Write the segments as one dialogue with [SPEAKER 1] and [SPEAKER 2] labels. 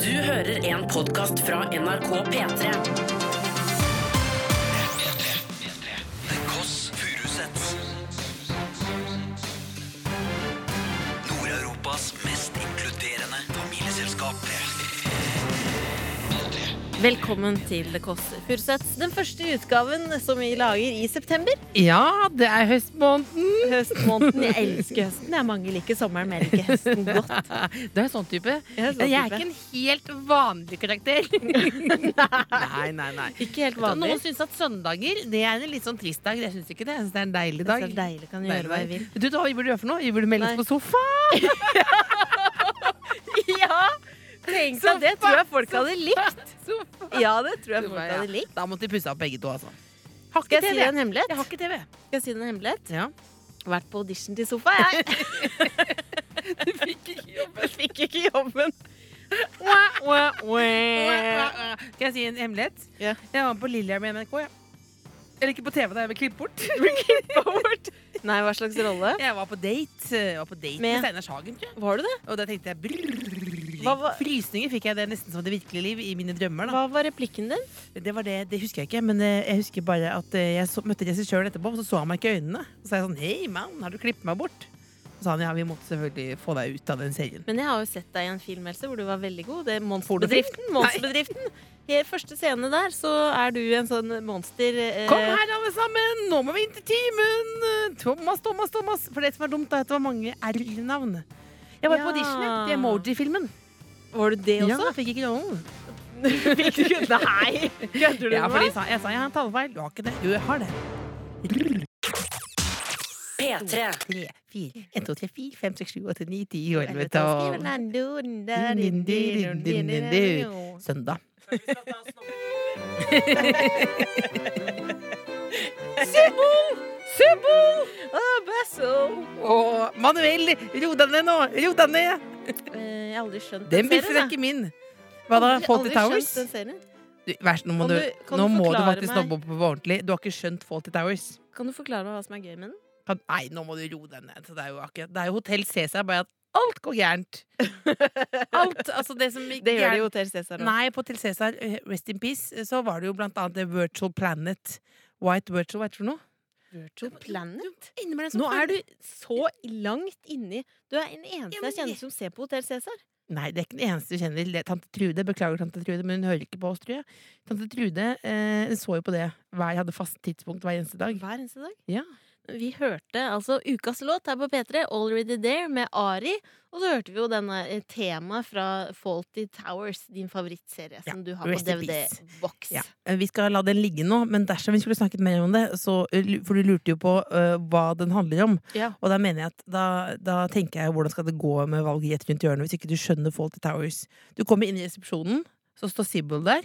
[SPEAKER 1] Du hører en podkast fra NRK P3.
[SPEAKER 2] The Koss Furusets Nord-Europas mest inkluderende familieselskap
[SPEAKER 3] Velkommen til The Kåss Furuseths. Den første utgaven som vi lager i september.
[SPEAKER 4] Ja, det er høstmåneden.
[SPEAKER 3] Høstmåneden. Jeg elsker høsten. Det er mange liker sommeren, men jeg liker høsten godt.
[SPEAKER 4] Du er sånn type.
[SPEAKER 3] Jeg er sånn
[SPEAKER 4] Jeg er
[SPEAKER 3] type.
[SPEAKER 4] ikke en helt vanlig karakter. nei, nei, nei.
[SPEAKER 3] Ikke helt
[SPEAKER 4] Så
[SPEAKER 3] vanlig.
[SPEAKER 4] Noen syns at søndager det er en litt sånn trist dag. Jeg syns ikke det. Jeg syns det er en deilig
[SPEAKER 3] Det
[SPEAKER 4] dag.
[SPEAKER 3] er så deilig. Kan gjøre hva jeg vil.
[SPEAKER 4] Vet du hva vi burde gjøre for noe? Vi burde melde
[SPEAKER 3] Nei.
[SPEAKER 4] oss på sofa.
[SPEAKER 3] Ja! Tenk deg det. Tror jeg folk hadde likt. Ja, det tror jeg folk
[SPEAKER 4] Sofa, ja.
[SPEAKER 3] hadde likt.
[SPEAKER 4] Da måtte de pusse opp begge to, altså. Har
[SPEAKER 3] Skal
[SPEAKER 4] ikke
[SPEAKER 3] jeg si
[SPEAKER 4] TV.
[SPEAKER 3] deg en hemmelighet?
[SPEAKER 4] Jeg har ikke TV.
[SPEAKER 3] Skal jeg si deg en hemmelighet?
[SPEAKER 4] Ja.
[SPEAKER 3] Vært på audition til sofa, jeg. Jeg fikk ikke jobben.
[SPEAKER 4] Skal jeg si en hemmelighet?
[SPEAKER 3] Eh. Ja.
[SPEAKER 4] Jeg var på Lilliam i NRK. jeg. Eller ikke på TV, da jeg ble klippet bort.
[SPEAKER 3] Nei, hva slags rolle?
[SPEAKER 4] Jeg var på date, jeg var på date
[SPEAKER 3] Med-
[SPEAKER 4] med Steinar Sagen, tror jeg.
[SPEAKER 3] Var du det?
[SPEAKER 4] Og da tenkte jeg brrrr.
[SPEAKER 3] Hva var-
[SPEAKER 4] Frysninger fikk jeg det nesten som det virkelige liv i mine drømmer. Da.
[SPEAKER 3] Hva var replikken din?
[SPEAKER 4] Det var det, det husker jeg ikke, men eh, jeg husker bare at eh, jeg så, møtte regissøren etterpå, og så så han meg ikke i øynene. Og så sa jeg sånn Hei, mann, har du klippet meg bort? Og så sa han ja, vi måtte selvfølgelig få deg ut av den serien.
[SPEAKER 3] Men jeg har jo sett deg i en film Else, hvor du var veldig god. Det er
[SPEAKER 4] Pornofilm?
[SPEAKER 3] Monsterbedriften. Monsterbedriften. I første scene der så er du en sånn monster eh,
[SPEAKER 4] Kom her, alle sammen! Nå må vi inn til timen! Thomas, Thomas, Thomas. For det som er dumt, er at det var mange R-navn. Jeg var
[SPEAKER 3] Ja.
[SPEAKER 4] på audition jeg, til Emoji-filmen.
[SPEAKER 3] Var du det
[SPEAKER 4] Ja,
[SPEAKER 3] også?
[SPEAKER 4] jeg fikk ikke rollen.
[SPEAKER 3] Fikk du ikke- Nei! Kødder du
[SPEAKER 4] Ja,
[SPEAKER 3] med meg?
[SPEAKER 4] fordi jeg sa jeg sa, jeg har en talefeil. Du har ikke det. Jo, jeg har det.
[SPEAKER 1] P3.
[SPEAKER 4] 3, 4, 1, 2, 3, 4, 5, 6, 7, 8, 9, 10, 11,
[SPEAKER 3] Skriver
[SPEAKER 4] 12
[SPEAKER 3] den, du, den, der, din, din, din, din, din.
[SPEAKER 4] Søndag.
[SPEAKER 3] Å, Basso!
[SPEAKER 4] Og Manuel, ro deg ned nå! Ro deg ned!
[SPEAKER 3] Eh, Jeg har aldri skjønt
[SPEAKER 4] Den biffen er
[SPEAKER 3] serien, jeg.
[SPEAKER 4] ikke min. Hva da?
[SPEAKER 3] Aldri-
[SPEAKER 4] Fawlty
[SPEAKER 3] aldri
[SPEAKER 4] Towers?
[SPEAKER 3] skjønt den serien.
[SPEAKER 4] Du, Vær så snill, nå må
[SPEAKER 3] Kan
[SPEAKER 4] du,
[SPEAKER 3] du- kan
[SPEAKER 4] nå
[SPEAKER 3] du
[SPEAKER 4] må du
[SPEAKER 3] forklare
[SPEAKER 4] faktisk
[SPEAKER 3] meg?
[SPEAKER 4] stoppe opp på ordentlig. Du har ikke skjønt Fawlty Towers.
[SPEAKER 3] Kan du forklare meg hva som er gøy med den?
[SPEAKER 4] Kan, nei, nå må du roe deg ned. Så Det er jo, akkurat, det er jo Hotell Cæsar, bare at alt går gærent. Alt, altså det som gikk
[SPEAKER 3] Det gjør det
[SPEAKER 4] gærent-
[SPEAKER 3] jo Hotell Cæsar også.
[SPEAKER 4] Nei, på Til Cæsar, eh, Rest in Peace, så var det jo blant annet The Virtual Planet. White Virtual, hva heter det for noe?
[SPEAKER 3] Virtual Planet?
[SPEAKER 4] Nå er
[SPEAKER 3] du så langt inni Du er den eneste
[SPEAKER 4] Ja, men
[SPEAKER 3] jeg kjenner som ser på Hotell Cæsar.
[SPEAKER 4] Nei, det er ikke den eneste du kjenner. Det er Tante Trude, Beklager, tante Trude, men hun hører ikke på oss, tror jeg. Tante Trude eh, så jo på det. Hver hadde fast tidspunkt hver eneste dag.
[SPEAKER 3] Hver eneste dag.
[SPEAKER 4] Ja.
[SPEAKER 3] Vi hørte altså ukas låt her på P3, 'Already There', med Ari. Og så hørte vi jo denne eh, temaet fra Faulty Towers, din favorittserie, som du har på
[SPEAKER 4] Rest in peace.
[SPEAKER 3] DVD-boks.
[SPEAKER 4] Ja. Eh, Vi skal la den ligge nå, men dersom vi skulle snakket mer om det, så, for du lurte jo på eh, hva den handler om,
[SPEAKER 3] Ja.
[SPEAKER 4] og da mener jeg at da, da tenker jeg hvordan skal det gå med valget rett rundt hjørnet hvis ikke du skjønner Fawlty Towers. Du kommer inn i resepsjonen, så står Sibyl der,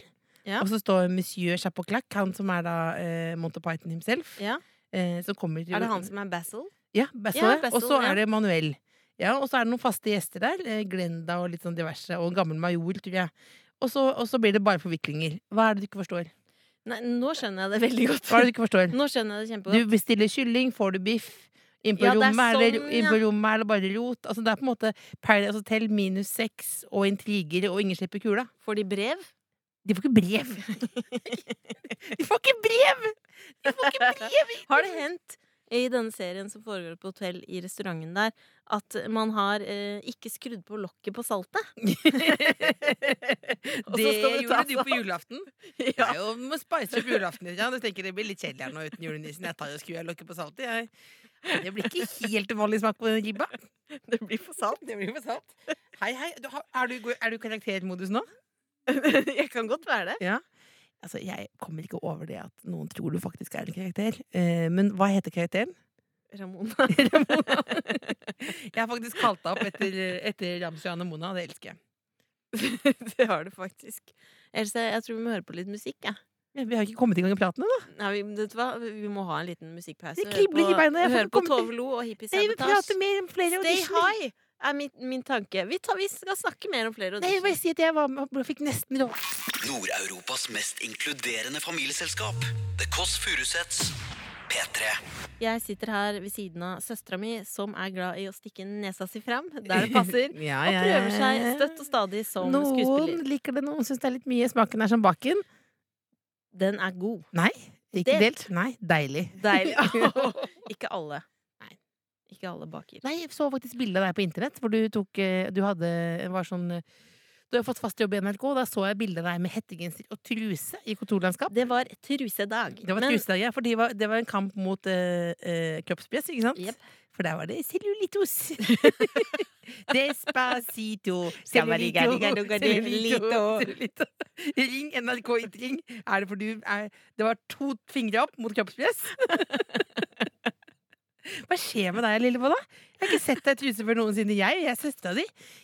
[SPEAKER 3] Ja.
[SPEAKER 4] og så står Monsieur Chapoclac, han som er da eh, Monty Python himself,
[SPEAKER 3] Ja.
[SPEAKER 4] eh, som kommer til
[SPEAKER 3] Er det han som er Basil?
[SPEAKER 4] Ja, Basil.
[SPEAKER 3] Ja,
[SPEAKER 4] ja.
[SPEAKER 3] Basil,
[SPEAKER 4] og så
[SPEAKER 3] ja.
[SPEAKER 4] er det Manuel. Ja, og så er det noen faste gjester der. eh, Glenda og litt sånn diverse. Og en gammel major, tror jeg. Og så, og så blir det bare forviklinger. Hva er det du ikke forstår?
[SPEAKER 3] Nei, nå skjønner jeg det veldig godt.
[SPEAKER 4] Hva er det du ikke forstår?
[SPEAKER 3] Nå skjønner jeg det
[SPEAKER 4] Du
[SPEAKER 3] kjempegodt.
[SPEAKER 4] bestiller kylling, får du biff. Inn på,
[SPEAKER 3] Ja, det er
[SPEAKER 4] rommet, er det,
[SPEAKER 3] sånn,
[SPEAKER 4] inn på rommet er det bare rot. Altså, det er på en måte Paradise Hotel minus seks og intriger, og ingen slipper kula.
[SPEAKER 3] Får de brev?
[SPEAKER 4] De får ikke brev! De får ikke brev! De får ikke brev!
[SPEAKER 3] Har det hendt i denne serien som foregår på hotell i restauranten der, at man har eh, ikke skrudd på lokket på saltet? Og så skal
[SPEAKER 4] det
[SPEAKER 3] du ta
[SPEAKER 4] gjorde du på julaften.
[SPEAKER 3] Ja.
[SPEAKER 4] Det er jo, du må spice opp julaften litt. Ja. Du tenker det blir litt kjedelig her nå uten julenissen. Jeg tar og skrur av lokket på saltet. Jeg. Det blir ikke helt uvanlig smak på ribba.
[SPEAKER 3] Det blir for salt.
[SPEAKER 4] Det blir for salt. Hei, hei. Du, har- er, du, i- er du i karaktermodus nå?
[SPEAKER 3] jeg kan godt være det.
[SPEAKER 4] Altså, Jeg kommer ikke over det at noen tror du faktisk er en karakter. Eh, men hva heter karakteren?
[SPEAKER 3] Ramona.
[SPEAKER 4] Ramona. Jeg har faktisk kalt deg opp etter, etter Ramsøy Anne Mona. Det elsker jeg.
[SPEAKER 3] det har du faktisk. Else, jeg tror vi må høre på litt musikk. Ja.
[SPEAKER 4] Ja, Vi har ikke kommet i gang i platen ennå.
[SPEAKER 3] Nei, vi, vet du hva? vi må ha en liten musikkpause.
[SPEAKER 4] Det kribler i beina, jeg får
[SPEAKER 3] hør
[SPEAKER 4] ikke
[SPEAKER 3] på
[SPEAKER 4] komme til-
[SPEAKER 3] Tove Lo og Hippie
[SPEAKER 4] Nei, Vi
[SPEAKER 3] Sabotage.
[SPEAKER 4] prater mer om flere
[SPEAKER 3] Stay
[SPEAKER 4] auditioner.
[SPEAKER 3] high er min, min tanke. Vi, tar, vi skal snakke mer om flere
[SPEAKER 4] Nei, jeg vil bare
[SPEAKER 3] auditioner.
[SPEAKER 4] si at jeg var med og fikk nesten råd.
[SPEAKER 2] Nord-Europas mest inkluderende familieselskap The Koss Furusets P3
[SPEAKER 3] Jeg sitter her ved siden av søstera mi, som er glad i å stikke nesa si fram der det passer.
[SPEAKER 4] Ja,
[SPEAKER 3] Og
[SPEAKER 4] ja,
[SPEAKER 3] prøver
[SPEAKER 4] ja,
[SPEAKER 3] seg
[SPEAKER 4] ja.
[SPEAKER 3] støtt og stadig som
[SPEAKER 4] Noen
[SPEAKER 3] skuespiller.
[SPEAKER 4] liker det, noen syns det er litt mye. Smaken er som baken.
[SPEAKER 3] Den er god.
[SPEAKER 4] Nei, ikke
[SPEAKER 3] Delt.
[SPEAKER 4] delt. Nei, deilig.
[SPEAKER 3] Deilig.
[SPEAKER 4] Ja.
[SPEAKER 3] Ikke alle.
[SPEAKER 4] Nei.
[SPEAKER 3] Ikke alle baker.
[SPEAKER 4] Nei, jeg så faktisk bilde av deg på internett, hvor du tok eh, Du hadde var sånn eh, Du har fått fast jobb i NRK, og da så jeg bilde av deg med hettegenser og truse i kontorlandskap.
[SPEAKER 3] Det var trusedag.
[SPEAKER 4] Det var
[SPEAKER 3] men-
[SPEAKER 4] trusedag, ja, for det var, det var en kamp mot eh, eh, kroppspress, ikke sant?
[SPEAKER 3] Jep.
[SPEAKER 4] For der var det cellulitos. Despacito.
[SPEAKER 3] Cellulito,
[SPEAKER 4] Cellulito,
[SPEAKER 3] cellulito.
[SPEAKER 4] cellulito. Ring NRK ikke ring. Er det for du er, Det var to fingre opp mot kroppspress. Hva skjer med deg, Lillebolla? Jeg har ikke sett deg i truse før noensinne. Jeg jeg er søstera di.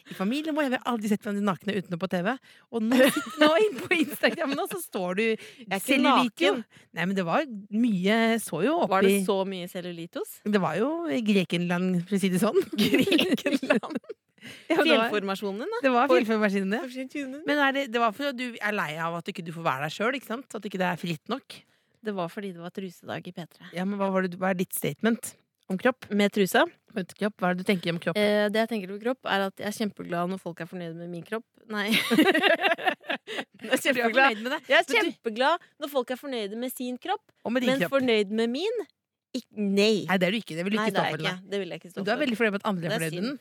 [SPEAKER 4] I familien vår har vi aldri sett hverandre nakne utenom på TV. Og nå, nå inne på Instagram nå, så står du
[SPEAKER 3] er ikke
[SPEAKER 4] cellulito.
[SPEAKER 3] naken.
[SPEAKER 4] Nei, men det var mye Så jo
[SPEAKER 3] Var
[SPEAKER 4] oppi
[SPEAKER 3] det så mye cellulitos?
[SPEAKER 4] det var jo Grekenland, for å si det sånn.
[SPEAKER 3] Grekenland?
[SPEAKER 4] ja, det var,
[SPEAKER 3] Fjellformasjonen, da?
[SPEAKER 4] det var fjellformaskinene.
[SPEAKER 3] Men
[SPEAKER 4] Men er det, det var for at du er lei av at ikke du får være deg sjøl, ikke sant? At ikke det er fritt nok.
[SPEAKER 3] det var fordi det var trusedag i P3.
[SPEAKER 4] Ja, men hva, var det, hva er ditt statement om kropp?
[SPEAKER 3] Med trusa?
[SPEAKER 4] Om kropp? Hva er det du tenker om kropp?
[SPEAKER 3] Eh, det jeg tenker på kropp, er at jeg er kjempeglad når folk er fornøyd med min kropp. Nei. jeg er
[SPEAKER 4] Du er
[SPEAKER 3] kjempeglad.
[SPEAKER 4] fornøyd med det.
[SPEAKER 3] Jeg er
[SPEAKER 4] Men du-
[SPEAKER 3] kjempeglad når folk er fornøyde med sin kropp,
[SPEAKER 4] Og med din
[SPEAKER 3] men
[SPEAKER 4] kropp.
[SPEAKER 3] fornøyd med min? Ikk- nei.
[SPEAKER 4] Nei, det er du ikke. Det vil du
[SPEAKER 3] Nei,
[SPEAKER 4] ikke
[SPEAKER 3] det
[SPEAKER 4] stå
[SPEAKER 3] er jeg
[SPEAKER 4] for.
[SPEAKER 3] ikke.
[SPEAKER 4] nei.
[SPEAKER 3] Det vil jeg ikke stå
[SPEAKER 4] Men Du er
[SPEAKER 3] for.
[SPEAKER 4] veldig fornøyd med at andre er
[SPEAKER 3] Det er
[SPEAKER 4] fornøyd med den.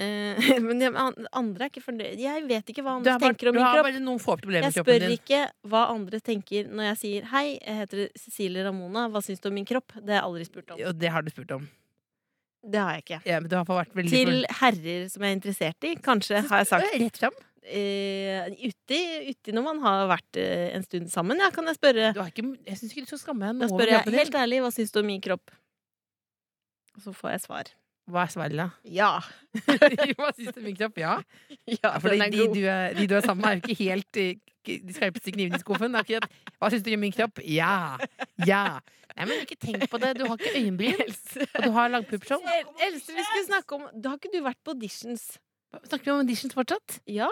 [SPEAKER 3] Eh, men jeg- an- andre er ikke fornøyd. Jeg vet ikke hva
[SPEAKER 4] Du
[SPEAKER 3] andre
[SPEAKER 4] har, bare,
[SPEAKER 3] tenker om
[SPEAKER 4] du
[SPEAKER 3] min
[SPEAKER 4] har
[SPEAKER 3] kropp.
[SPEAKER 4] bare noen få problemer
[SPEAKER 3] Jeg
[SPEAKER 4] med kroppen
[SPEAKER 3] spør
[SPEAKER 4] din.
[SPEAKER 3] ikke hva andre tenker når jeg sier 'hei, jeg heter Cecilie Ramona, hva syns du om min kropp?' Det har jeg aldri spurt om.
[SPEAKER 4] Og det har du spurt om.
[SPEAKER 3] Det har jeg ikke.
[SPEAKER 4] Ja, men du har vært veldig
[SPEAKER 3] Til herrer som jeg er interessert i, kanskje, har jeg sagt.
[SPEAKER 4] fornøyd. Rett fram.
[SPEAKER 3] Eh, uti, uti når man har vært eh, en stund sammen, ja, kan jeg spørre.
[SPEAKER 4] Du har ikke, jeg syns ikke du skal skamme deg
[SPEAKER 3] Da
[SPEAKER 4] nå.
[SPEAKER 3] spør jeg helt ærlig 'hva syns du om min kropp'? Og så får jeg svar.
[SPEAKER 4] Hva er svelget?
[SPEAKER 3] Ja.
[SPEAKER 4] Hva syns du om min kropp? Ja.
[SPEAKER 3] ja
[SPEAKER 4] for
[SPEAKER 3] den
[SPEAKER 4] de,
[SPEAKER 3] er
[SPEAKER 4] de,
[SPEAKER 3] god.
[SPEAKER 4] du er, de du er sammen med, er jo ikke helt eh, k- de skarpeste knivene i skuffen. Det er ikke at, Hva syns du om min kropp? Ja. Ja. Nei, men ikke tenk på det. Du har ikke øyenbryn,
[SPEAKER 3] Else,
[SPEAKER 4] og du har lagpuppshow.
[SPEAKER 3] El- Else, vi skulle snakke om Da har ikke du vært på auditions?
[SPEAKER 4] Snakker vi om auditions fortsatt?
[SPEAKER 3] Ja.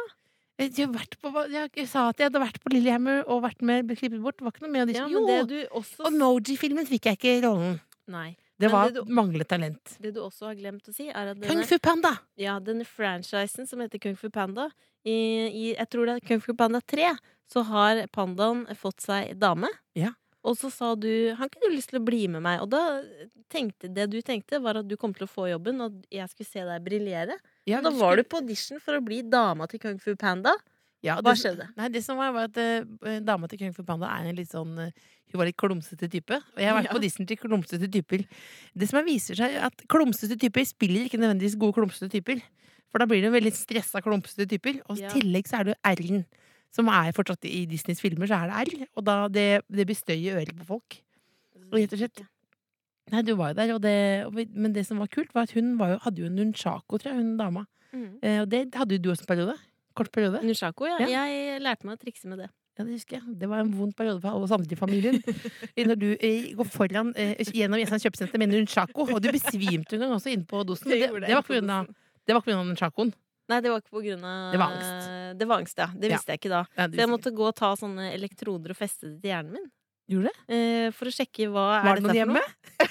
[SPEAKER 4] Jeg, jeg, har vært på, hva- jeg, jeg sa at jeg hadde vært på Lillehammer og vært med ble klippet bort. Det var ikke noe med
[SPEAKER 3] ja
[SPEAKER 4] audition.
[SPEAKER 3] men det
[SPEAKER 4] jo!
[SPEAKER 3] du også
[SPEAKER 4] Og Moji-filmen fikk jeg ikke rollen.
[SPEAKER 3] Nei.
[SPEAKER 4] Det
[SPEAKER 3] Men
[SPEAKER 4] var
[SPEAKER 3] det du-
[SPEAKER 4] manglet talent.
[SPEAKER 3] Det du også har glemt å si, er at
[SPEAKER 4] Kung
[SPEAKER 3] denne,
[SPEAKER 4] fu panda!
[SPEAKER 3] ja, denne franchisen som heter Kung Fu Panda i, i, Jeg tror det er Kung Fu Panda 3, så har pandaen fått seg dame.
[SPEAKER 4] Ja.
[SPEAKER 3] Og så sa du 'Har ikke du lyst til å bli med meg?' Og da tenkte det du tenkte, var at du kom til å få jobben, og jeg skulle se deg briljere.
[SPEAKER 4] Ja,
[SPEAKER 3] Da var du på audition for å bli dama til Kung Fu Panda.
[SPEAKER 4] Ja,
[SPEAKER 3] Hva
[SPEAKER 4] det-
[SPEAKER 3] skjedde?
[SPEAKER 4] Nei, det som var, var at eh, dama til Kung Fu Panda er en litt sånn eh, Hun var litt klumsete type. Og jeg har vært
[SPEAKER 3] Ja.
[SPEAKER 4] på Disney til klumsete typer. Det som er- viser seg, er at klumsete typer spiller ikke nødvendigvis gode klumsete typer. For da blir det jo veldig stressa klumsete typer. Og i
[SPEAKER 3] Ja.
[SPEAKER 4] tillegg så er det jo R-en. Som er fortsatt i Disneys filmer, så er det R. Og da det, det bestøyer øret på folk. Og rett og slett Nei, du var jo der, og det, og vi- men det som var kult, var at hun var jo, hadde jo en nunchako, tror jeg, hun dama.
[SPEAKER 3] Mhm.
[SPEAKER 4] Eh, og det hadde jo du også en periode. Kort periode.
[SPEAKER 3] Nunchako, ja.
[SPEAKER 4] Ja.
[SPEAKER 3] Jeg lærte meg å trikse med det.
[SPEAKER 4] Ja, det husker jeg. Det var en vond periode for alle oss andre i familien. Når du eh, går foran eh, gjennom Jessheim kjøpesenter med en nunchako, og du besvimte en gang også inne på dosen. Det,
[SPEAKER 3] gjorde jeg
[SPEAKER 4] det var
[SPEAKER 3] på
[SPEAKER 4] pga. nunchakoen.
[SPEAKER 3] Nei, det var ikke på grunn av
[SPEAKER 4] Det var angst.
[SPEAKER 3] Det var angst, ja. Det
[SPEAKER 4] Ja.
[SPEAKER 3] visste jeg ikke da.
[SPEAKER 4] Ja, du-
[SPEAKER 3] Så jeg måtte gå og ta sånne elektroder og feste det til hjernen min.
[SPEAKER 4] Gjorde det?
[SPEAKER 3] Eh, for å sjekke hva
[SPEAKER 4] Var
[SPEAKER 3] er
[SPEAKER 4] det
[SPEAKER 3] dette
[SPEAKER 4] noen
[SPEAKER 3] for
[SPEAKER 4] hjemme?
[SPEAKER 3] noe.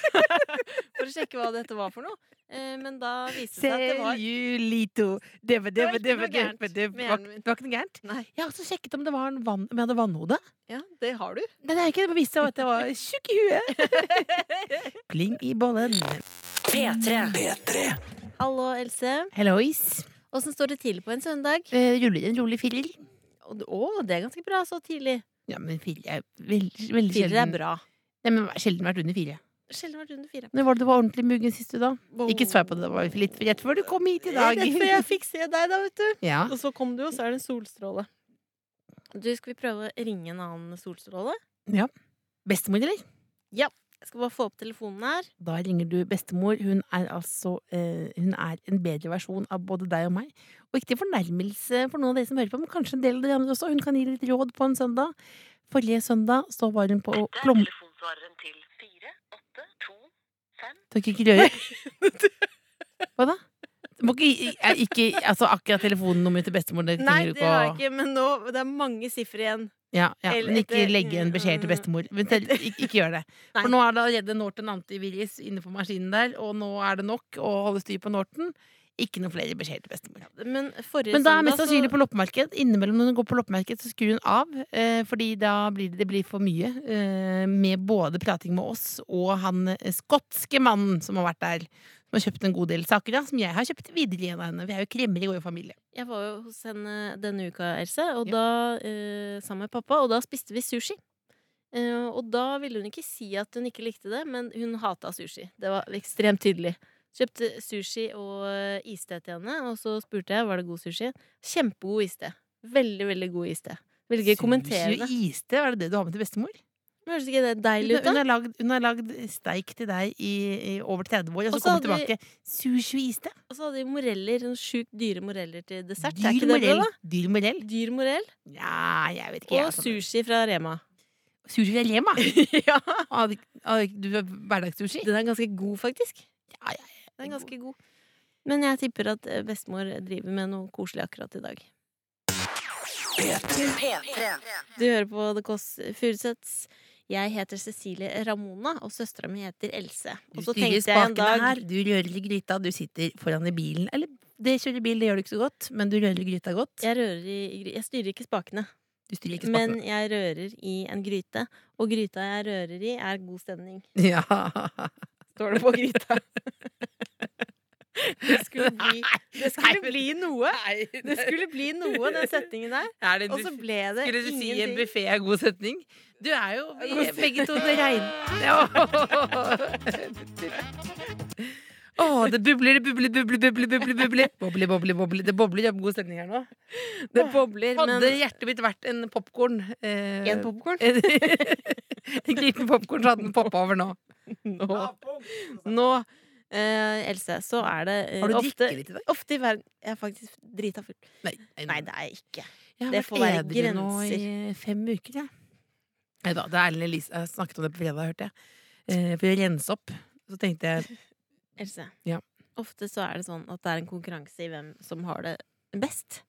[SPEAKER 3] For å sjekke hva dette var for noe. Eh, men da viste det seg at det var
[SPEAKER 4] Cellulito. Det var det var- det var-
[SPEAKER 3] Det var ikke noe
[SPEAKER 4] det var- det
[SPEAKER 3] gærent med
[SPEAKER 4] var-
[SPEAKER 3] hjernen min.
[SPEAKER 4] det var ikke noe gærent.
[SPEAKER 3] Nei.
[SPEAKER 4] Jeg har også sjekket om det var en vann, om jeg hadde vannhode.
[SPEAKER 3] Ja, det har du.
[SPEAKER 4] Nei, det er ikke det. Det viste seg at jeg var tjukk i huet. Pling i bollen.
[SPEAKER 1] P3.
[SPEAKER 2] P3
[SPEAKER 3] Hallo, Else.
[SPEAKER 4] Hallois.
[SPEAKER 3] Åssen står det til på en søndag?
[SPEAKER 4] Eh, Ruller en rolig firer.
[SPEAKER 3] Å, det er ganske bra så tidlig.
[SPEAKER 4] Ja, men firer er veldig, veldig
[SPEAKER 3] Firer er
[SPEAKER 4] sjelden.
[SPEAKER 3] bra.
[SPEAKER 4] Nei, men sjelden vært under fire.
[SPEAKER 3] Sjelden vært under fire.
[SPEAKER 4] Når var det du var ordentlig muggen sist du da? Ikke svar på det, det var litt rett før du kom hit i dag.
[SPEAKER 3] Rett før jeg fikk se deg, da, vet du.
[SPEAKER 4] Ja.
[SPEAKER 3] Og så kom du, og så er det en solstråle. Du, skal vi prøve å ringe en annen solstråle?
[SPEAKER 4] Bestemor, eller?
[SPEAKER 3] Jeg skal bare få opp telefonen her.
[SPEAKER 4] Da ringer du bestemor. Hun er altså eh, hun er en bedre versjon av både deg og meg. Og ikke til fornærmelse for noen av dere som hører på, men kanskje en del av dere andre også. Hun kan gi litt råd på en søndag. Forrige søndag så var hun på Plom...
[SPEAKER 5] telefonsvareren til 4, 8, 2, 5.
[SPEAKER 4] Dere ikke røre? Hva da? Du Må ikke, eh, ikke altså akkurat telefonnummeret til bestemor. dere
[SPEAKER 3] Nei,
[SPEAKER 4] trenger du
[SPEAKER 3] det
[SPEAKER 4] ikke å-
[SPEAKER 3] har jeg ikke, men nå, det er mange sifre igjen.
[SPEAKER 4] Ja, ja.
[SPEAKER 3] Eller
[SPEAKER 4] Men ikke
[SPEAKER 3] etter-
[SPEAKER 4] legge en beskjed til bestemor. Men selv- ikke, ikke gjør det.
[SPEAKER 3] Nei.
[SPEAKER 4] For nå er det allerede Norton antivirus inne på maskinen der, og nå er det nok å holde styr på Norton. Ikke noen flere beskjeder til bestemor.
[SPEAKER 3] Men forrige
[SPEAKER 4] Men da er
[SPEAKER 3] søndag
[SPEAKER 4] mest
[SPEAKER 3] så-
[SPEAKER 4] sannsynlig på loppemarked. Innimellom når hun går på loppemarked, så skrur hun av. Eh, fordi da blir det, det blir for mye. Eh, med både prating med oss og han eh, skotske mannen som har vært der. Som har kjøpt en god del saker, da. Som jeg har kjøpt videre igjen av henne. Vi er jo kremmer i vår familie.
[SPEAKER 3] Jeg var jo hos henne denne uka, Else, og da, eh, sammen med pappa, og da spiste vi sushi. Eh, og da ville hun ikke si at hun ikke likte det, men hun hata sushi. Det var ekstremt tydelig. Kjøpte sushi og eh, iste til henne, og så spurte jeg var det god sushi. Kjempegod iste. Veldig, veldig god iste. Vil ikke kommentere
[SPEAKER 4] Sushi og
[SPEAKER 3] det.
[SPEAKER 4] iste, var det det du har med til bestemor?
[SPEAKER 3] Men Høres ikke det
[SPEAKER 4] Hun,
[SPEAKER 3] deilig ut,
[SPEAKER 4] hun,
[SPEAKER 3] da?
[SPEAKER 4] har lagd, hun har lagd steik til deg i, i over 30 år,
[SPEAKER 3] Og
[SPEAKER 4] og så
[SPEAKER 3] så
[SPEAKER 4] kommer hun
[SPEAKER 3] hadde vi-
[SPEAKER 4] tilbake. Sushi og iste.
[SPEAKER 3] Og så hadde de moreller, sånn sjukt dyre moreller til dessert. er
[SPEAKER 4] Dyr
[SPEAKER 3] ikke det
[SPEAKER 4] morell.
[SPEAKER 3] bra, da?
[SPEAKER 4] Dyr morell?
[SPEAKER 3] Dyr morell
[SPEAKER 4] Ja, jeg vet ikke. jeg,
[SPEAKER 3] og
[SPEAKER 4] altså.
[SPEAKER 3] sushi fra Rema.
[SPEAKER 4] Sushi fra Rema?
[SPEAKER 3] ja.
[SPEAKER 4] Ah, det- ah, Du har hverdagssushi?
[SPEAKER 3] Den er ganske god, faktisk.
[SPEAKER 4] Ja, ja,
[SPEAKER 3] Den er ganske god. Men jeg tipper at eh, bestemor driver med noe koselig akkurat i dag. Du hører på The Kåss Furuseths. Jeg heter Cecilie Ramona, og søstera mi heter Else.
[SPEAKER 4] Du
[SPEAKER 3] Og så tenkte
[SPEAKER 4] styrer
[SPEAKER 3] jeg en
[SPEAKER 4] spakene
[SPEAKER 3] dag
[SPEAKER 4] her, du rører i gryta, du sitter foran i bilen. Eller det kjører bil, det gjør du ikke så godt, men du rører i gryta godt.
[SPEAKER 3] jeg, rører i, i gry- jeg styrer ikke spakene,
[SPEAKER 4] Du styrer ikke
[SPEAKER 3] men
[SPEAKER 4] spakene.
[SPEAKER 3] jeg rører i en gryte. Og gryta jeg rører i, er god stemning.
[SPEAKER 4] Ja.
[SPEAKER 3] Står det på gryta. Det skulle bli, det skulle bli noe. Det skulle bli noe, den setningen der.
[SPEAKER 4] Er det
[SPEAKER 3] Og så ble det
[SPEAKER 4] skulle du si en
[SPEAKER 3] ingenting.
[SPEAKER 4] buffé er god setning? Du er jo vi
[SPEAKER 3] God
[SPEAKER 4] er begge to det regn... Ja. Å, det bubler, det bubler, bubler, bubler, bubler, bubler. Bobler, bobler, bobler. Det bobler av god stemning her nå.
[SPEAKER 3] Det bobler, men
[SPEAKER 4] Hadde hjertet mitt vært en popkorn eh,
[SPEAKER 3] En popcorn?
[SPEAKER 4] En en liten popkorn, så hadde den poppa over nå.
[SPEAKER 3] Nå, nå eh, Else, så er det eh,
[SPEAKER 4] Har du
[SPEAKER 3] ofte,
[SPEAKER 4] drikket litt i dag?
[SPEAKER 3] ofte i verden Jeg er faktisk drita full.
[SPEAKER 4] Nei,
[SPEAKER 3] Nei, det er jeg ikke.
[SPEAKER 4] Jeg har
[SPEAKER 3] det
[SPEAKER 4] vært
[SPEAKER 3] får være
[SPEAKER 4] edru nå i
[SPEAKER 3] grenser.
[SPEAKER 4] fem uker, jeg. Nei da, det er Erlend Elise. Jeg snakket om det på fredag, hørte jeg. Eh, for å rense opp. Så tenkte jeg
[SPEAKER 3] Else,
[SPEAKER 4] Ja.
[SPEAKER 3] ofte så er det sånn at det er en konkurranse i hvem som har det best.